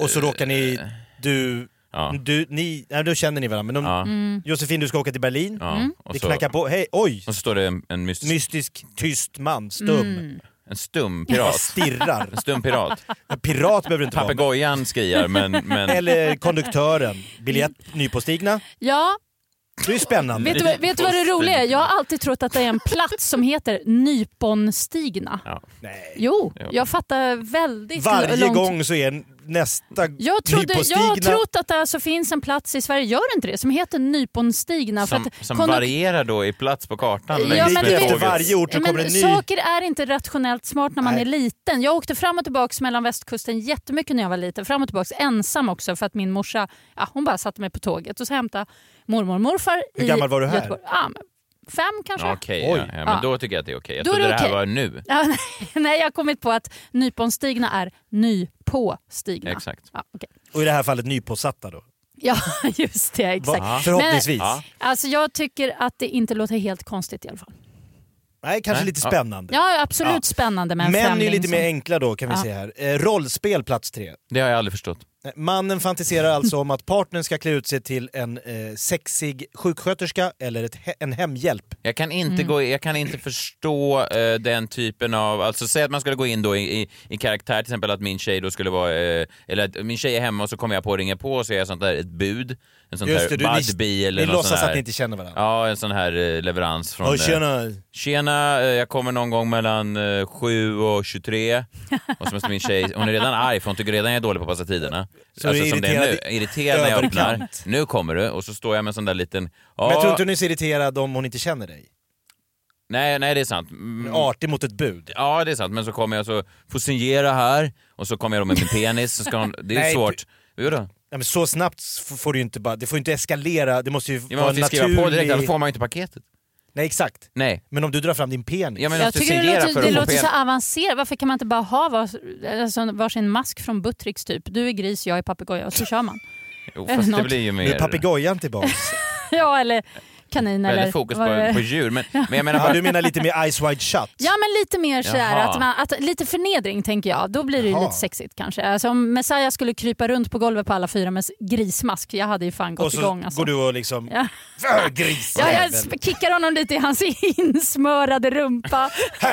Och så råkar ni... Du...
Ja.
Du, ni, nej, då känner ni varandra, men de,
Ja.
Mm.
Josefin du ska åka till Berlin,
Ja, och
det
så-
knackar på, hej, oj!
Och så står det en, en mystisk,
Mystisk, tyst man, stum,
Mm.
en stum pirat.
stirrar.
En stum pirat.
En Pirat behöver det inte vara.
Papegojan skriar, men... men...
Eller konduktören, biljett nypåstigna.
Ja,
Det är spännande.
vet du, vad- vet du vad det roliga är? Jag har alltid trott att det är en plats som heter Nyponstigna.
Ja.
Jo,
Jo.
jag fattar väldigt
Varje
långt
gång så är nästa
Jag, trodde, jag har
nypåstigna...
trott att det alltså finns en plats i Sverige, gör inte det, som heter Nyponstigna.
Som,
att
som
kondu-
varierar då i plats på kartan
Ja,
längs
men
med
du vet-
Efter
tåget.
varje ort så
Ja,
kommer
men
en ny.
Saker är inte rationellt smart när man
Nej.
är liten. Jag åkte fram och tillbaka mellan västkusten jättemycket när jag var liten. Fram och tillbaka ensam också för att min morsa ja, hon bara satte mig på tåget och så hämtade mormor och morfar
Hur
i
gammal var du här?
Göteborg. Ja, men fem kanske?
Ja, Okej, ja,
Oj.
ja, men
Ja.
då tycker jag att det är okej. Jag
Då är
trodde det
det
här
okej.
var nu.
Ja, nej, nej, jag har kommit på att nyponstigna är nypåstigna.
Exakt.
Ja, okej.
Och i det här fallet nypåsatta då.
ja, just det. Exakt.
Va? Förhoppningsvis.
Ja.
Alltså, jag tycker att det inte låter helt konstigt i alla fall.
Nej, kanske
Nej,
lite
ja.
spännande.
Ja, absolut
Ja.
spännande med en
Män är ju
främling
lite mer
som-
enkla då kan vi
Ja.
se här. Eh, rollspel plats tre.
Det har jag aldrig förstått.
Nej, Mannen fantiserar alltså om att partnern ska klä ut sig till en eh, sexig sjuksköterska eller ett he- en hemhjälp.
Jag kan inte, gå, jag kan inte förstå eh, den typen av... Alltså säg att man skulle gå in då i, i, i karaktär, till exempel att min tjej då skulle vara... Eh, eller att min tjej är hemma och så kommer jag på och ringer på och så är jag sånt där ett bud. En sån där budbee eller
ni
något sån
låtsas
här,
att ni inte känner varandra.
Ja, en sån här eh, leverans från...
Ja,
eh,
tjena.
Tjena, eh, jag kommer någon gång mellan eh, 7 och 23. Och så måste min tjej, hon är redan arg för hon tycker redan jag är dålig på att passa tiderna. Alltså,
Så du är
som det är nu,
irriterad i-
irriterad när jag öppnar.
överkant.
Nu kommer du och så står jag med en sån där liten...
Men jag
"Ja,
tror inte hon är så irriterad om hon inte känner dig.
nej, nej, det är sant. Mm,
Artig mot ett bud.
Ja, det är sant. Men så kommer jag så, får signera här. Och så kommer jag då med min penis. Så ska hon, det är
Nej,
svårt. Jo då.
Ja, men så snabbt f- får du ju inte bara, det får ju inte eskalera, det måste ju
Ja, man
vara
måste ju skriva
naturligt.
på direkt, annars får man ju inte paketet.
Nej exakt.
Nej.
Men om du drar fram din penis.
Ja, men jag
Jag
måste
tycker det
signera
låter,
för
det
att få
låter
penis.
så avancerat. Varför kan man inte bara ha vars, alltså varsin mask från Buttricks typ? Du är gris, jag är papegoja och så kör man.
Jo,
eller
fast det
något.
blir ju mer...
Nu är papegojan tillbaks.
ja, eller kanin eller
Väldigt fokus
vad det-
på, på djur. Men, men jag menar
ja,
bara...
du menar lite mer eyes wide shut?
Ja men lite mer sådär,
Jaha.
att man, att, lite förnedring tänker jag. Då blir det ju
Jaha.
lite sexigt kanske. Alltså, om Messiah skulle krypa runt på golvet på alla fyra med s- grismask, jag hade ju fan
och
gått
så
igång. Alltså.
går du och liksom...
Ja.
För gris!
Ja, jag sp- kickar honom lite i hans insmörade rumpa.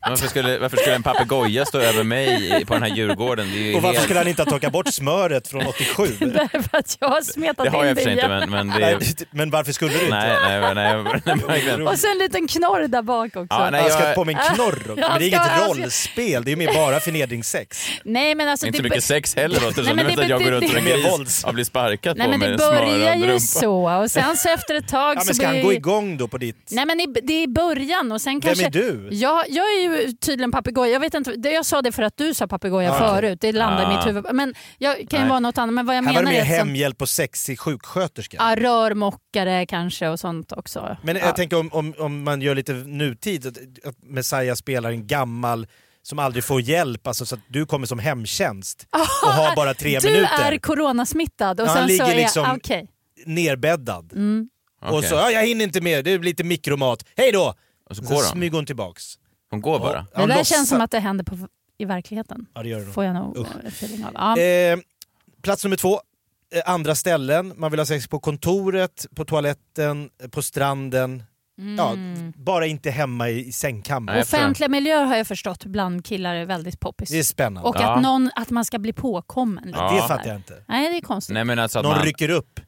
Varför skulle, varför skulle en papegoja stå över mig i- på den här Djurgården? Det, är ju
Och varför
helt,
skulle han inte ha torkat bort smöret från 87?
Därför att jag har smetat
det har jag i
in
och för sig
det
inte,
igen.
men, men det
Nej,
är...
men varför skulle du inte?
Nej, nej, nej. nej, nej, verkligen.
Och så en liten knorr där bak också.
Ja, nej,
Han
jag-
ska på med en knorr också. Men
Ja,
det är
han ska-
inget
han ska-
rollspel, det är ju mer bara förnedringssex.
Nej men alltså
inte
det,
mycket
bör-
sex heller låter det
Nej,
som.
men
Nu
det-
vet jag jag går
det-
runt som en
det- Med
gris
våld.
och blir sparkad
Nej
på
men
med
det
en
börjar
smörad
ju
rumpa.
så och sen så efter ett tag
Ja,
så
men ska
blir
han
det
gå
ju-
igång då på ditt...
Nej men i- det är i början och sen kanske...
är du?
Jag, jag är ju tydligen papegoja. Jag vet inte, det- jag sa det för att du sa papegoja förut. Det landade i
Ah.
mitt huvud. Men jag kan ju
Nej.
vara något annat. Men vad jag
Här var det
menar
mer
är som,
hemhjälp och sexig sjuksköterska.
ja, rörmokare kanske och sånt också.
Men
ja.
jag tänker om, om, om man gör lite nutid, att, att Messiah spelar en gammal som aldrig får hjälp, alltså så att du kommer som hemtjänst och har bara tre
du
minuter
är coronasmittad och
Ja, han
sen så
ligger
är
liksom-
jag... Okej.
nerbäddad.
Mm.
Och
Okej.
så ja, jag hinner inte med, det är lite mikromat, hej då!
Och så
Och så
går hon.
smyger hon tillbaks.
Hon går bara.
Det
Han
där
låtsas-
känns som att det händer på, i verkligheten.
Ja, det gör det nog.
Får jag nog
Usch.
eh, feeling av. Ja.
Eh, plats nummer två, eh, andra ställen. Man vill ha sex på kontoret, på toaletten, eh, på stranden.
Mm.
Ja, bara inte hemma i, i sängkammaren.
Nej.
Offentliga miljöer har jag förstått bland killar är väldigt poppis.
Det är spännande.
Och
Ja.
att, någon, att man ska bli påkommen. lite
Ja.
så
Det
här.
fattar jag inte.
Nej, det är konstigt.
Nej men alltså att
Någon
man...
rycker upp.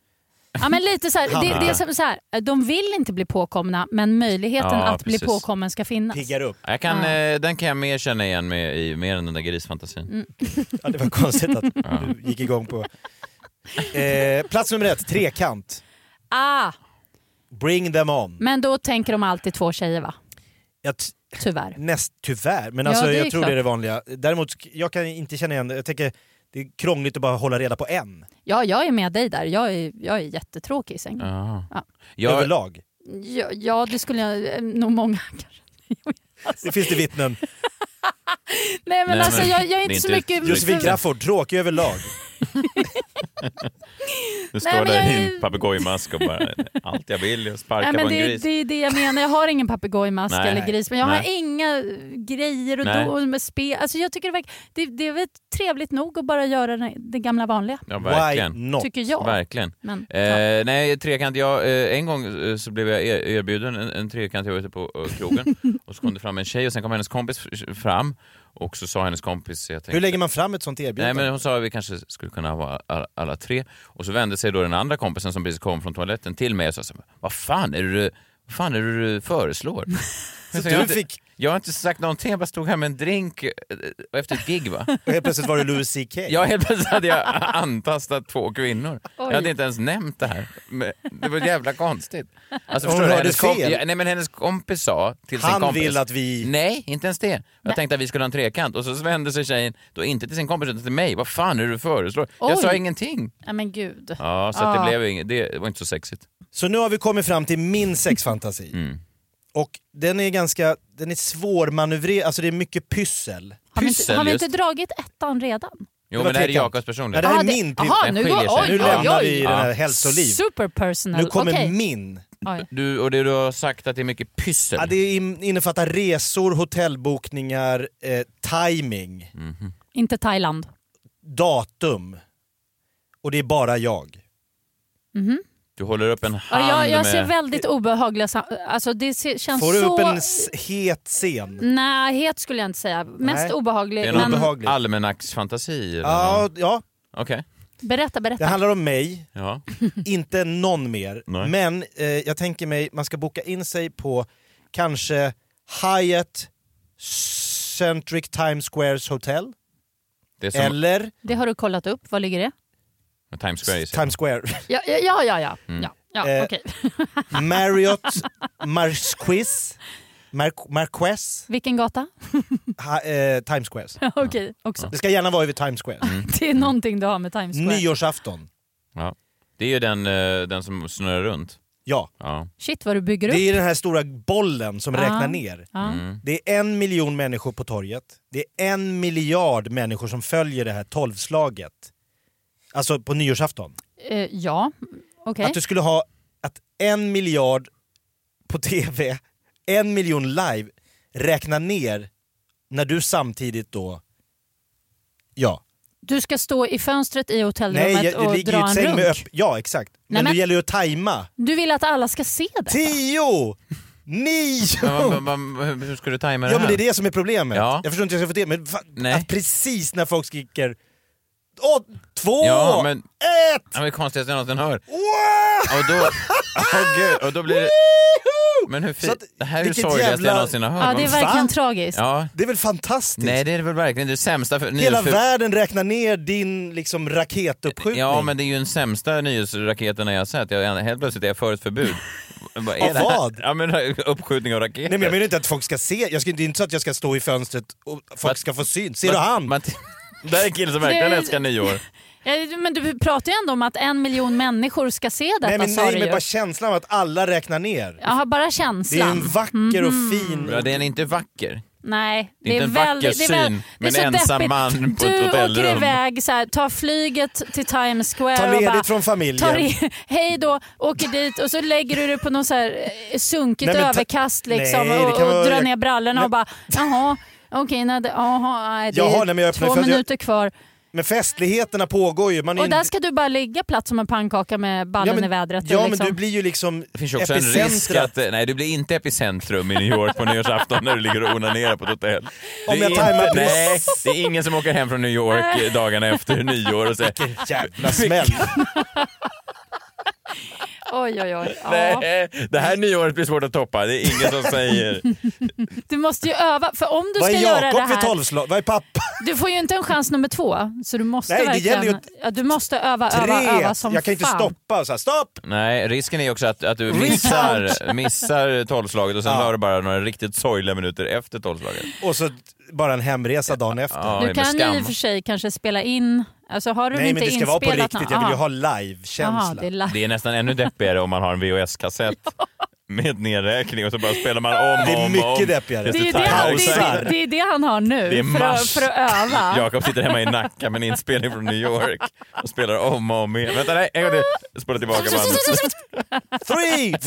Ja, men lite så här,
Hanna.
det, det är som så här, de vill inte bli påkomna, men möjligheten
Ja,
att
precis.
bli påkommen ska finnas.
Piggar upp.
Jag kan, eh, Den kan jag mer känna igen med, i mer än den där grisfantasin.
Mm.
Ja, det var konstigt att du gick igång på... Eh, plats nummer ett, trekant.
Ah,
Bring them on.
men då tänker de alltid två tjejer, va?
Jag t-
Tyvärr.
näst, tyvärr, men
Ja,
alltså,
det är
jag tror
klart.
det är det vanliga. Däremot, jag kan inte känna igen det. Jag tänker, det är krångligt att bara hålla reda på en.
Ja, jag är med dig där. Jag är, jag är jättetråkig i sängen.
Jaha.
Ja.
Jag,
Överlag.
Ja, ja, det skulle jag eh, nog många kanske.
Det finns det vittnen.
Nej, men
Nej,
alltså
men
jag, jag är
det är
inte så
inte
mycket...
Josefin
Josefin Crafoord, tråkig överlag.
du
Nej,
står
men
där i
jag är-
din papegojmask och bara allt jag vill är att sparka
Nej,
på
men
en
det,
gris.
det är det jag menar. Jag har ingen papegojmask
Nej.
eller gris, men jag har
Nej.
inga eh, grejer och,
Nej.
do, och med spel. Alltså, jag tycker det, verkar, det, det är väl trevligt nog att bara göra det, det gamla vanliga,
Ja,
Why
verkligen.
not?
tycker jag.
Verkligen.
Men,
Eh, Nej, trekant. Jag, eh, en gång eh, så blev jag er- erbjuden en, en trekant. Jag var ute på eh, krogen och så kom det fram en tjej och sen kom hennes kompis f- fram och så sa hennes kompis... Jag tänkte,
Hur lägger man fram ett sånt
Nej,
erbjudande?
men hon sa att vi kanske skulle kunna vara alla, alla tre. Och så vände sig då den andra kompisen som precis kom från toaletten till mig och sa så här, vad fan är det du vad fan är det du föreslår? Jag
du
sa, "Jag har inte-
fick
Jag har inte sagt någonting, jag bara stod här med en drink eh, efter ett gig va?
Och helt plötsligt var det Louis CK.
Jag helt plötsligt hade jag antastat två kvinnor. Jag hade inte ens nämnt det här. Men Det var jävla konstigt. Alltså,
Hon
förstår du,
hörde
hennes, komp-
fel.
ja, nej, men hennes kompis sa till sin
Han
kompis...
vill att vi...
Nej, inte ens det. Jag tänkte att vi skulle ha en trekant och så vände sig tjejen då inte till sin kompis utan till mig. Vad fan är det du föreslår? Jag
Oj.
sa ingenting.
Ja, men gud.
Ja, så att
Ah.
det blev inget, det var inte så sexigt.
Så nu har vi kommit fram till min sexfantasi.
Mm.
Och den är ganska, den är svårmanövrerad, alltså det är mycket pyssel.
Har vi, inte,
Pyssel
har vi
just.
inte dragit ettan redan?
Jo
var
men det här är
trekant.
Jakobs personlighet.
Ja, det här
Ah,
är
det-
min typ-
aha,
pyssel.
nu
skiljer
går,
sig.
oj,
Nu
oj,
lämnar vi
oj.
den här
Ja.
hälsoliv.
Super personal.
Nu kommer
Okej.
min.
Oj.
Du, och det du har sagt att det är mycket pyssel.
Ja, det in- innefattar resor, hotellbokningar, eh, timing,
Mm.
Inte Thailand.
datum. Och det är bara jag.
Du håller upp en hand
Ja, jag, jag ser
med...
väldigt obehagliga... sam- Alltså det ser, känns
Får du
så... Mm.
upp en s- het scen?
Nej, het skulle jag inte säga. Mest
Nej.
obehaglig.
Det är
men...
någon
obehagligt.
allmännacksfantasi? eller något?
Ja, ja,
Okej.
Berätta, berätta.
det handlar om mig,
Ja.
inte någon mer.
Nej.
Men eh, jag tänker mig, man ska boka in sig på kanske Hyatt Centric Times Squares Hotel.
Det är som
Eller
Det har du kollat upp. Var ligger det?
Times Square gissar jag.
Times Square.
Ja, ja, ja. ja, ja. ja, ja
Eh,
okej.
Marriott Marquis. Mar- Marquess.
Vilken gata?
Ha, eh, Times Square.
okej, också.
Det ska gärna vara över Times Square.
Mm.
Det är någonting du har med Times Square.
Nyårsafton.
Ja. Det är ju den, eh, den som snurrar runt.
Ja.
Ja.
Shit vad du bygger upp.
Det är den här stora bollen som
Ah.
räknar ner.
Ja.
Det är en miljon människor på torget. Det är en miljard människor som följer det här tolvslaget. Alltså på nyårsafton.
Eh, ja, okej.
Att du skulle ha att en miljard på tv, en miljon live, räkna ner när du samtidigt då... Ja.
Du... ska stå i fönstret i hotellrummet
Nej, jag, det
och
ligger ju
dra
ett
en
säng
runk.
med öpp... Ja, exakt. Men,
Nej, men-
det gäller ju att tajma.
Du vill att alla ska se det?
Tio! Nio!
Men, vad- vad- vad- hur ska du tajma det
Ja
här?
men det är det som är problemet.
Ja.
Jag förstår inte hur jag ska få det, men fa-
Nej.
att precis när folk skriker Åh, två,
Ja, men-
ett,
Ja, men det konstigaste jag någonsin hör.
wow!
Och då, oh, gud, och då blir det...
Woohoo!
Men hur
Så
fint?
att-
Det här är det
vilket
sorgligaste
jävla-
jag någonsin har hört.
Ja, det är
Man-
verkligen
Va?
tragiskt.
ja.
Det är väl fantastiskt?
Nej, det är väl verkligen det sämsta för,
Hela
nyhets- för,
världen räknar ner din liksom, raketuppskjutning.
Ja, men det är ju den sämsta nyhetsraketen jag har sett. Jag, helt plötsligt är jag för ett förbud. Vad är
Av
det här?
vad?
Ja, men uppskjutning av raketer.
Nej, men jag menar inte att folk ska se, jag ska, det är inte så att jag ska stå i fönstret och folk
Vad-
ska få syn. Ser du han?
Man, där är en kille som verkligen
Det-
älskar nyår.
Ja, Eh, Men du pratar ju ändå om att en miljon människor ska se detta
nej, men,
sa
nej,
du
men
ju.
bara känslan av att alla räknar ner.
Jaha, bara
Det är
känslan. Mhm.
en vacker och fin...
Ja, den är inte vacker.
Nej,
Det är inte en vacker
väldigt- det är väl-
syn,
det är
men
så
en ensam
deppigt.
man på ett
Du åker
hotellrum.
iväg, så här, tar flyget till Times Square
Ta
och bara,
ledigt från familjen.
tar i, hej då, åker dit och så lägger du dig på något så här eh, sunkigt
Nej, men ta-
överkast liksom,
Nej, det
och,
kan
och
vara-
drar ner brallorna
Men-
och bara jaha, okej, nej, det, jaha, nej, det är
Jaha, nej, men jag öppnar
två
för att jag-
minuter kvar.
Men festligheterna pågår ju. Man är
Och där
in-
ska du bara ligga platt som en pannkaka med ballen i vädret. och
Ja
liksom.
men du blir ju liksom
Det finns ju också en risk
epicentrat.
att... eh, Nej, du blir inte epicentrum i New York på nyårsafton när du ligger och onanerar på ett hotell. Det
Om
är
jag
inte-
tajmar precis.
Nej, det är ingen som åker hem från New York dagarna efter nyår och säger
Jävla smäll.
Oj, oj, oj. Ja.
Nej, det här nyåret blir svårt att toppa. Det är ingen som säger.
Du måste ju öva, för om du
Vad
ska
är
göra det
Jakob vid
här...
tolvslag? Vad är pappa?
Du får ju inte en chans nummer två, så du måste
Nej, det
verkligen...
gäller ju att-
ja, du måste öva, öva,
Tre!
öva som
Jag kan inte
fan.
stoppa. Så här, stopp!
Nej, risken är också att, att du missar, missar tolvslaget och sen
Ja.
har du bara några riktigt sorgliga minuter efter tolvslaget.
Och så bara en hemresa dagen efter.
Ja,
Du
det är
kan
skam.
ju i och för sig kanske spela in... Alltså har du
Nej
inte
men det ska vara på
inspelat
riktigt.
någon-
Jag vill ju
Ah.
ha
Jaha,
live-känsla.
det är live.
Det är nästan ännu deppigare om man har en VHS-kassett med nedräkning och så bara spelar man om och om.
Det är
och om.
mycket deppigare.
Just
Det är ju det,
timer.
han- det,
Pausar.
är- det, det är det han har nu,
Det är
för, att,
mars.
för att öva.
Jakob sitter hemma i Nacka med en inspelning från New York och spelar om och om igen. Vänta, nej, en gång till. Spola tillbaka bandet.
Three!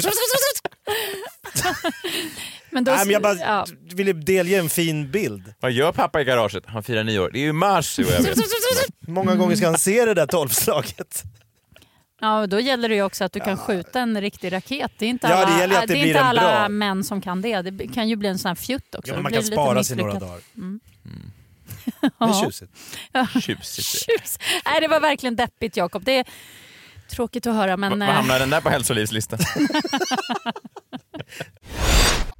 Men då,
Nej, men jag bara
ja.
ville delge en fin bild.
Vad gör pappa i garaget? Han firar nyår. Det är ju mars, jo, jag vet.
Hur
Mm.
många gånger ska han se det där tolvslaget?
Ja, och då gäller det ju också att du kan skjuta en riktig raket. Det är inte
Ja,
alla,
det gäller ju att det
är
blir
inte
en
alla
bra.
män som kan det. Det kan ju bli en sån här fjutt också.
Ja, men man
Det blir
kan spara
lite
sig några
misslyckat. Mm.
dagar. Mm. Det är tjusigt.
Tjusigt.
Tjus. Nej, det var verkligen deppigt Jakob. Det är tråkigt att höra men...
Vad
eh,
hamnar den där på hälsolivslistan?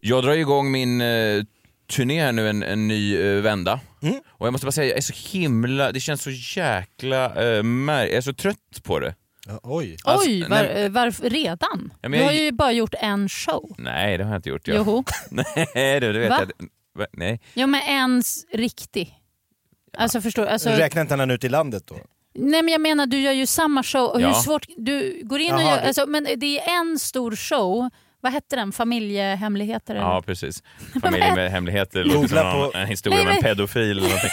Jag drar ju igång min eh, turné här nu, en, en ny eh, vända. Och jag måste bara säga, jag är så himla... Det känns så jäkla eh, mär... Jag är så trött på det.
Ja, oj.
Alltså,
Oj, var,
nej-
eh, varför redan?
Ja, men
du
jag-
har ju bara gjort en show.
Nej, det har jag inte gjort. Jag.
Joho.
Nej, du, det vet
Va?
jag. Va? Nej.
Jo men en s- riktig. Alltså förstår alltså,
Räknar inte han ut i landet då?
Nej men jag menar du gör ju samma show. Och hur
Ja.
svårt, du går in och
Jaha,
gör,
det-
alltså, men det är en stor show. Vad hette den? Familjehemligheter? eller?
Ja, precis. Familjen med hemligheter låter som
Googla
någon,
på-
en historia
Nej,
om en
men-
pedofil eller någonting.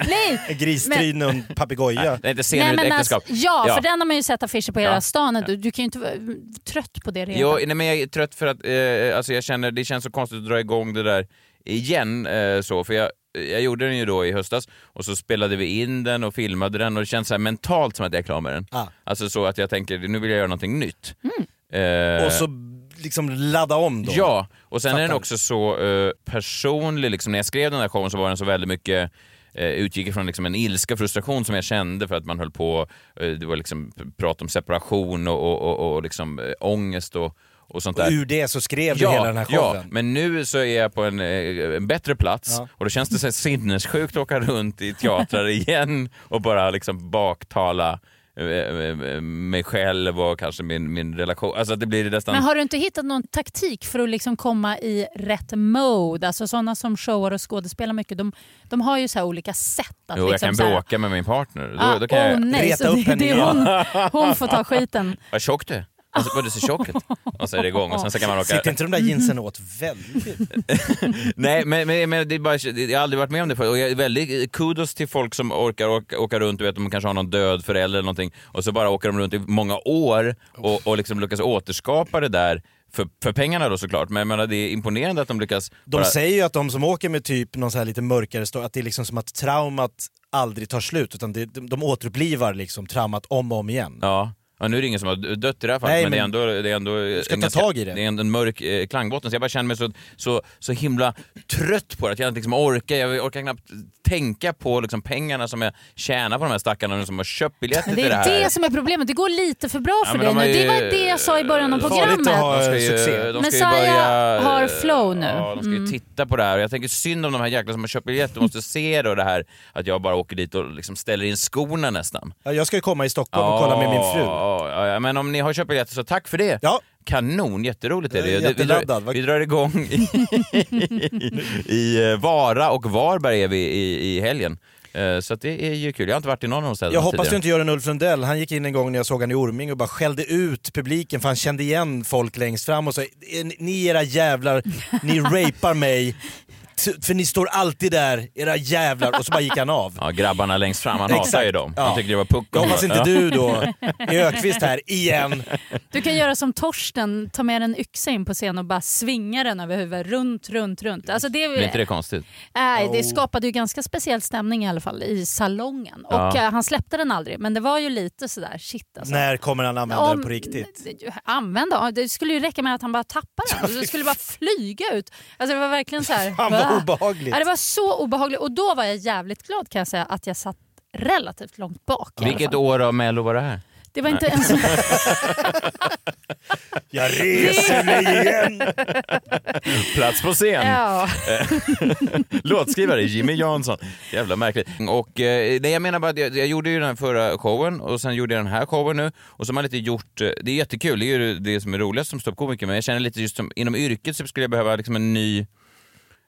Nej!
En gristrin och en papegoja.
Nej, inte sen
Nej,
ur ett
men alltså,
äktenskap.
ja,
Ja.
för den har man ju sett affischer på hela
Ja.
stan. Du, du kan ju inte vara mm, trött på det redan.
Jo, nej, men jag är trött för att eh, alltså jag känner, det känns så konstigt att dra igång det där igen. Eh, så, för jag, jag gjorde den ju då i höstas och så spelade vi in den och filmade den och det känns så här mentalt som att jag är klar med den.
Ah.
Alltså så att jag tänker, nu vill jag göra någonting nytt.
Mm.
Eh,
Och så liksom ladda om då.
Ja, och sen är den
Fattar.
också så eh, personlig. Liksom, när jag skrev den här showen så var den så väldigt mycket eh, utgick ifrån liksom en ilska och frustration som jag kände för att man höll på, eh, det var liksom p- prat om separation och, och, och, och liksom, eh, ångest och, och sånt
Och
där.
ur det så skrev du hela den här
ja,
showen.
men nu så är jag på en, eh, en bättre plats
Ja.
och då känns det så här sinnessjukt att åka runt i teatrar igen och bara liksom baktala eh, eh, mig själv och kanske min, min relation. Alltså att det blir nästan...
Men har du inte hittat någon taktik för att liksom komma i rätt mode? Alltså sådana som showar och skådespelar mycket, de, de har ju så här olika sätt att
Jo, jag
liksom
kan
så här-
bråka med min partner. Då,
Ah,
då kan
åh,
jag...
nej,
reta
så
upp
det,
henne
det är hon, hon får ta skiten.
Vad tjock du är. Alltså, vad du ser tjock ut. Och så är det igång och sen så kan man åka...
Sitter inte de där jeansen åt väldigt?
Nej, men, men, men det är bara, jag har aldrig varit med om det förut. Och jag är väldigt kudos till folk som orkar åka, åka runt, du vet de kanske har någon död förälder eller någonting och så bara åker de runt i många år och, och liksom lyckas återskapa det där för, för pengarna då såklart. Men jag menar, det är imponerande att de lyckas...
De
bara,
säger ju att de som åker med typ någon så här lite mörkare story, att det är liksom som att traumat aldrig tar slut utan det, de, de återupplivar liksom traumat om och om igen.
Ja. Ja, nu är det ingen som har dött i det här fallet,
Nej,
men, det är
men
ändå... Det är ändå
ska
en
ta tag i det.
Det är en, en mörk eh, klangbotten, så jag bara känner mig så, så, så himla trött på det, att jag inte liksom orkar. Jag orkar knappt tänka på liksom pengarna som jag tjänar på de här stackarna som har köpt biljetter till
Det
det
är
här.
det som är problemet, det går lite för bra
Ja,
för
men
dig
de
nu.
har ju-
Det var det jag sa i början av
Farligt att
programmet.
ha- eh,
De ska ju,
Succé.
de ska ju
Messiah
börja, eh,
har flow nu. Mm.
Ja, de ska ju titta på det här. Jag tänker synd om de här jäklarna som har köpt biljetter. De måste se då det här att jag bara åker dit och liksom ställer in skorna nästan.
Ja, Jag ska ju komma i Stockholm och kolla med min fru.
Ja, ja, ja, men om ni har köpt biljetter så tack för det.
Ja.
Kanon, jätteroligt är det.
Jag är
Det- vi,
jätteladdad.
drar,
Vad-
vi drar igång i, i eh, Vara och Varberg är vi i, i helgen. Eh, Så att det är ju kul. Jag har inte varit i någon av de städerna
Jag hoppas
tidigare.
du inte gör en Ulf Lundell. Han gick in en gång när jag såg han i Orming och bara skällde ut publiken för han kände igen folk längst fram och sa ni era jävlar, ni rapar mig. t- För ni står alltid där, era jävlar. Och så bara gick han av.
Ja, grabbarna längst fram, han hatar ju dem. Han
Ja.
tyckte det var puckon.
Jag hoppas inte
Ja.
du då, Ökvist här, igen.
Du kan göra som Torsten, ta med en yxa in på scen och bara svinga den över huvudet runt, runt, runt. Alltså det,
Men inte det är konstigt?
Nej, det skapade ju ganska speciell stämning i alla fall i salongen. Och eh, han släppte den aldrig, men det var ju lite sådär shit alltså.
När kommer han använda den på riktigt?
Använda? Det skulle ju räcka med att han bara tappade den. Det skulle bara flyga ut. Alltså det var verkligen så här.
Fan vad
"Va?"
obehagligt.
Ja, det var så obehagligt. Och då var jag jävligt glad kan jag säga att jag satt relativt långt bak. i alla
Vilket
fall.
år av Mello var det här?
Det var inte ens...
Jag reser mig igen!
Plats på scen.
ja.
Låtskrivare Jimmy Jansson. Jävla märkligt. Och, eh, nej, jag menar bara att jag, jag gjorde ju den här förra showen och sen gjorde jag den här showen nu. Och så har man lite gjort, eh, det är jättekul, det är ju det som är roligast som ståuppkomiker men jag känner lite just som, inom yrket så skulle jag behöva liksom en ny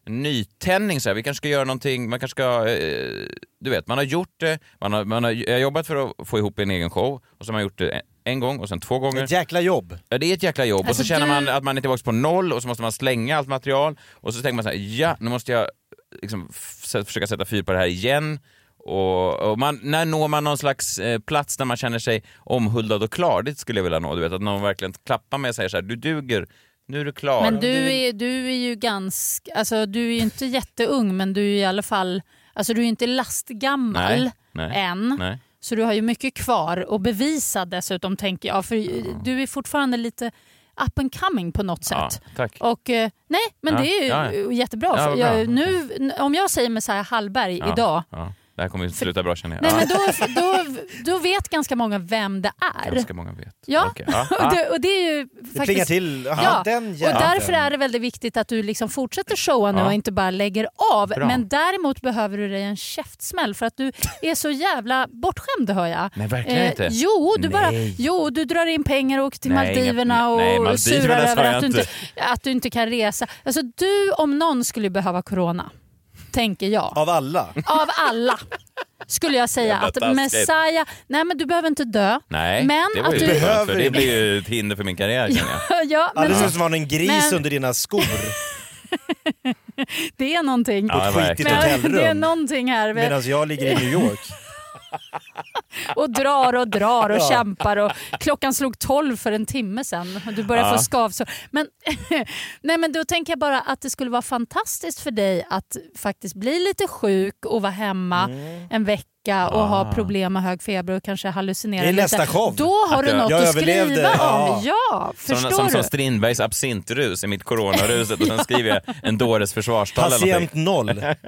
en nytändning. Så här. Vi kanske ska göra någonting, man kanske ska... Eh, du vet, man har gjort det, man har, man har jag har jobbat för att få ihop en egen show och så har man gjort det en, en gång och sen två gånger.
Ett jäkla jobb.
Ja, det är ett jäkla jobb och
Alltså,
så känner
du-
man att man är tillbaka på noll och så måste man slänga allt material och så tänker man så här, ja nu måste jag liksom f- försöka sätta fyr på det här igen Och, och man, när når man någon slags eh, plats där man känner sig omhuldad och klar? Det skulle jag vilja nå. Du vet, att någon verkligen klappar mig och säger så här, du duger, nu är du klar.
Men du är, du är ju ganska, alltså du är ju inte jätteung men du är i alla fall, alltså du är ju inte lastgammal
Nej, nej,
än.
nej.
Så du har ju mycket kvar att bevisa dessutom tänker jag. För du är fortfarande lite up and coming på något
Ja,
sätt.
tack.
Och, eh, nej, men
Ja,
det är ju
ja, ja.
jättebra.
Ja,
För
vad bra.
jag, nu, n- om jag säger Messiah Hallberg
Ja,
idag,
Ja. Det här kommer ju sluta bra känner jag.
nej,
Ja,
men då, då, då vet ganska många vem det är.
Ganska många vet.
Ja,
Okej, ja,
och, det, och det är ju faktiskt...
plingar till. Aha,
ja.
den
och
jäveln.
därför är det väldigt viktigt att du liksom fortsätter showa nu
Ja.
och inte bara lägger av.
Bra.
Men däremot behöver du dig en käftsmäll för att du är så jävla bortskämd hör jag. Eh,
Nej, verkligen inte.
Jo, du, bara,
Nej.
jo, du drar in pengar och åker till
Nej,
Maldiverna
inga-
och
nej, Maldiverna
surar
sa
över
jag
att du inte,
inte.
att du inte kan resa. Alltså du om någon skulle ju behöva corona, tänker jag.
Av alla.
Av alla skulle jag säga
Jävla
att
taskigt.
Messiah, nej men du behöver inte dö.
Nej,
men
det var
att
ju
du
skönt,
Behöver
för det
inte.
blir ju ett hinder för min karriär känner jag.
ja, men
Alldeles som var en gris
Men-
under dina skor.
det är någonting.
Ja,
skitigt
verkligen.
Men det är
hotellrum.
någonting här med-
Medan jag ligger i New York.
och drar och drar och
Ja.
kämpar. Och klockan slog tolv för en timme sedan och du börjar
Ja.
få skavsår. Men, nej, men då tänker jag bara att det skulle vara fantastiskt för dig att faktiskt bli lite sjuk och vara hemma en vecka och ha problem med hög feber och kanske hallucinera
Det är
lite.
nästa show.
Då har
Att
du
jag-
något
jag
att
överlevde.
skriva
Ja.
om. Ja,
Som,
förstår
som,
du?
som Strindbergs absintrus i mitt coronaruset och sen skriver jag en dåres försvarstal eller någonting.
Patient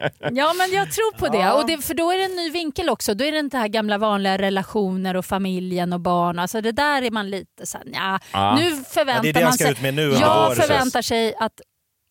noll.
Ja men jag tror på det. Och det. För då är det en ny vinkel också. Då är det inte här gamla vanliga relationer och familjen och barn. Alltså det där är man lite såhär, nja.
Ja.
Nu förväntar
Ja, det är det han
man
ska
sig.
ut med nu,
Jag
ja, precis.
förväntar sig att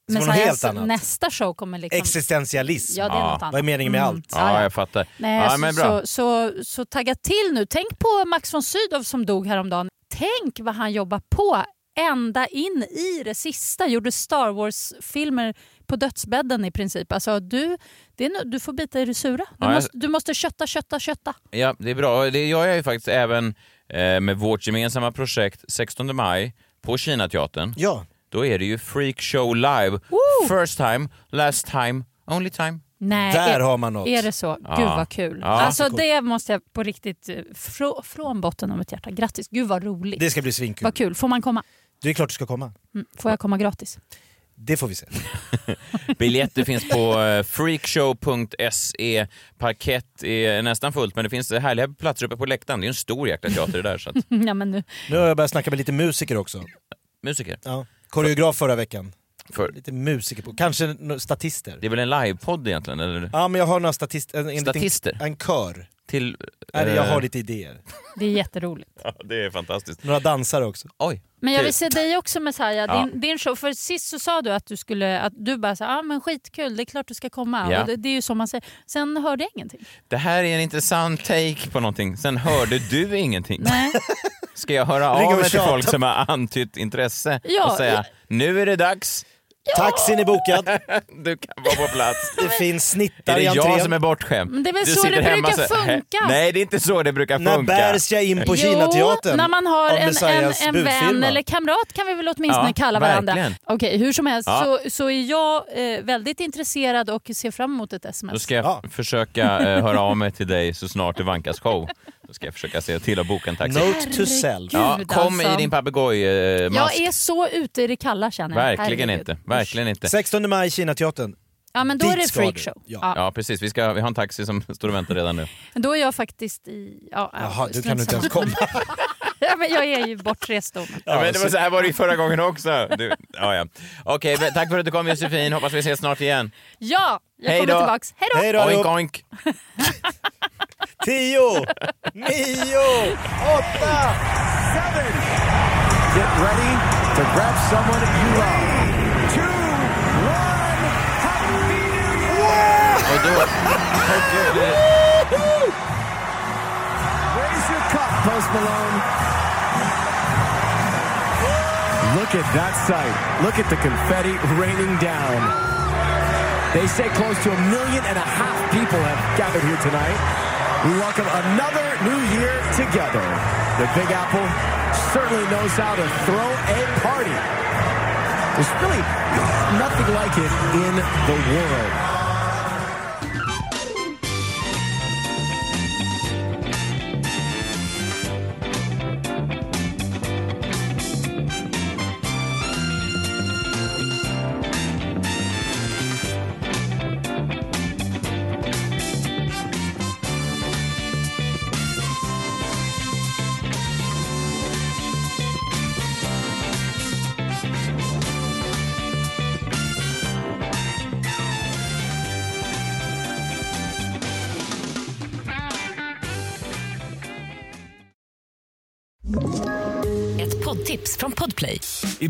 vara något
Messiahs
helt annat.
nästa show kommer liksom...
Existentialism.
ja det är något annat. Mm.
Vad är meningen med allt?
Ja,
Ja,
ja.
jag fattar.
Nej,
ja,
alltså,
men bra.
Så, så, så tagga till nu. Tänk på Max von Sydow som dog häromdagen. Tänk vad han jobbar på ända in i det sista. Gjorde Star Wars-filmer på dödsbädden i princip. Alltså, du, det är, no- du får bita i det sura. Du,
Ja, jag-
måste, du måste kötta, kötta, kötta.
Ja, det är bra. Det gör jag ju faktiskt även eh, med vårt gemensamma projekt 16 maj på Kinateatern.
Ja.
Då är det ju Freak Show live. First time, last time, only time.
Nej,
Där
är,
har man något.
är det så? Gud vad kul.
Ja.
alltså, det måste jag på riktigt, eh, frå, från botten av mitt hjärta, grattis. Gud vad roligt.
Det ska bli svinkul.
Vad kul. Får man komma?
Det är klart du ska komma.
Mm. Får jag komma gratis?
Det får vi se.
Biljetter finns på eh, freakshow.se. E. Parkett är nästan fullt, men det finns härliga platser uppe på läktaren. Det är ju en stor jäkla teater det där. Så att,
ja, men nu.
Nu har jag börjat snacka med lite musiker också.
musiker.
Ja. Koreograf förra veckan.
För,
Lite musiker på. Kanske no- statister.
det är väl en livepodd egentligen? Eller?
Ja, men jag har några statist, en, en, liten-
Statister?
en kör.
Till,
Är det- Jag
eh,
har lite idéer.
Det är jätteroligt.
Ja, det är fantastiskt.
Några dansare också.
Oj.
Men jag
Kul.
Typ.
vill se dig också Messiah,
Ja.
din, din show. För sist så sa du att du skulle, att du bara sa, ah, men skitkul, det är klart du ska komma.
Ja.
Och det, det är ju så man säger. Sen hörde jag ingenting.
Det här är en intressant take på någonting. Sen hörde du ingenting.
Nej.
Ska jag höra
Ring och
av mig till
tjata.
folk som har antytt intresse
Ja,
och säga
ja.
nu är det dags,
Taxin är bokad.
du kan vara på plats.
Det finns
Är
snittar
det
i
jag
entrén.
som är bortskämd?
Men Mm, det är väl
Du
så
sitter
det
hemma
brukar
och säger,
funka.
"Hä?" Nej, det är inte så det brukar
När
funka.
bärs jag in på Kinateatern?
Jo, när man har
av
en, en,
Messiahs
en vän
budfirma?
eller kamrat kan vi väl åtminstone
Ja,
kalla varandra.
verkligen.
Okej, hur som helst
Ja.
så, så är jag eh, väldigt intresserad och ser fram emot ett sms.
Då ska jag
Ja.
försöka eh, höra av mig till dig så snart det vankas show. Då ska jag försöka se till att boka en taxi.
Note to self.
Ja,
Gud,
kom
alltså.
i din papegojmask.
jag är så ute i det kalla känner jag.
Verkligen
Herregud.
inte. Verkligen inte.
16 maj, Kinateatern.
Ja men då är
Dit
det
ska du.
freakshow.
Ja.
Ja, precis. Vi, ska, vi har en taxi som står och väntar redan nu.
Då är jag faktiskt i... Ja, ja,
Jaha, du
strunt
kan du inte
samma.
ens komma.
Ja, men jag är ju bortrest då. men-
Ja, men det var så här var det ju förra gången också. Du, ja, ja. Okej, men tack för att du kom Josefin. Hoppas vi ses snart igen.
Ja, jag
Hej
kommer
då.
tillbaks. Hej då!
Hej då
Oink,
allihop.
oink.
10, 9, 8.
Get ready to grab someone you love.
Och då,
Raise your cup, Post Malone. Look at that sight. Look at the confetti raining down. They say close to a million and a half people have gathered here tonight. We welcome another new year together. The Big Apple certainly knows how to throw a party. There's really nothing like it in the world.
Ett poddtips från Podplay.
I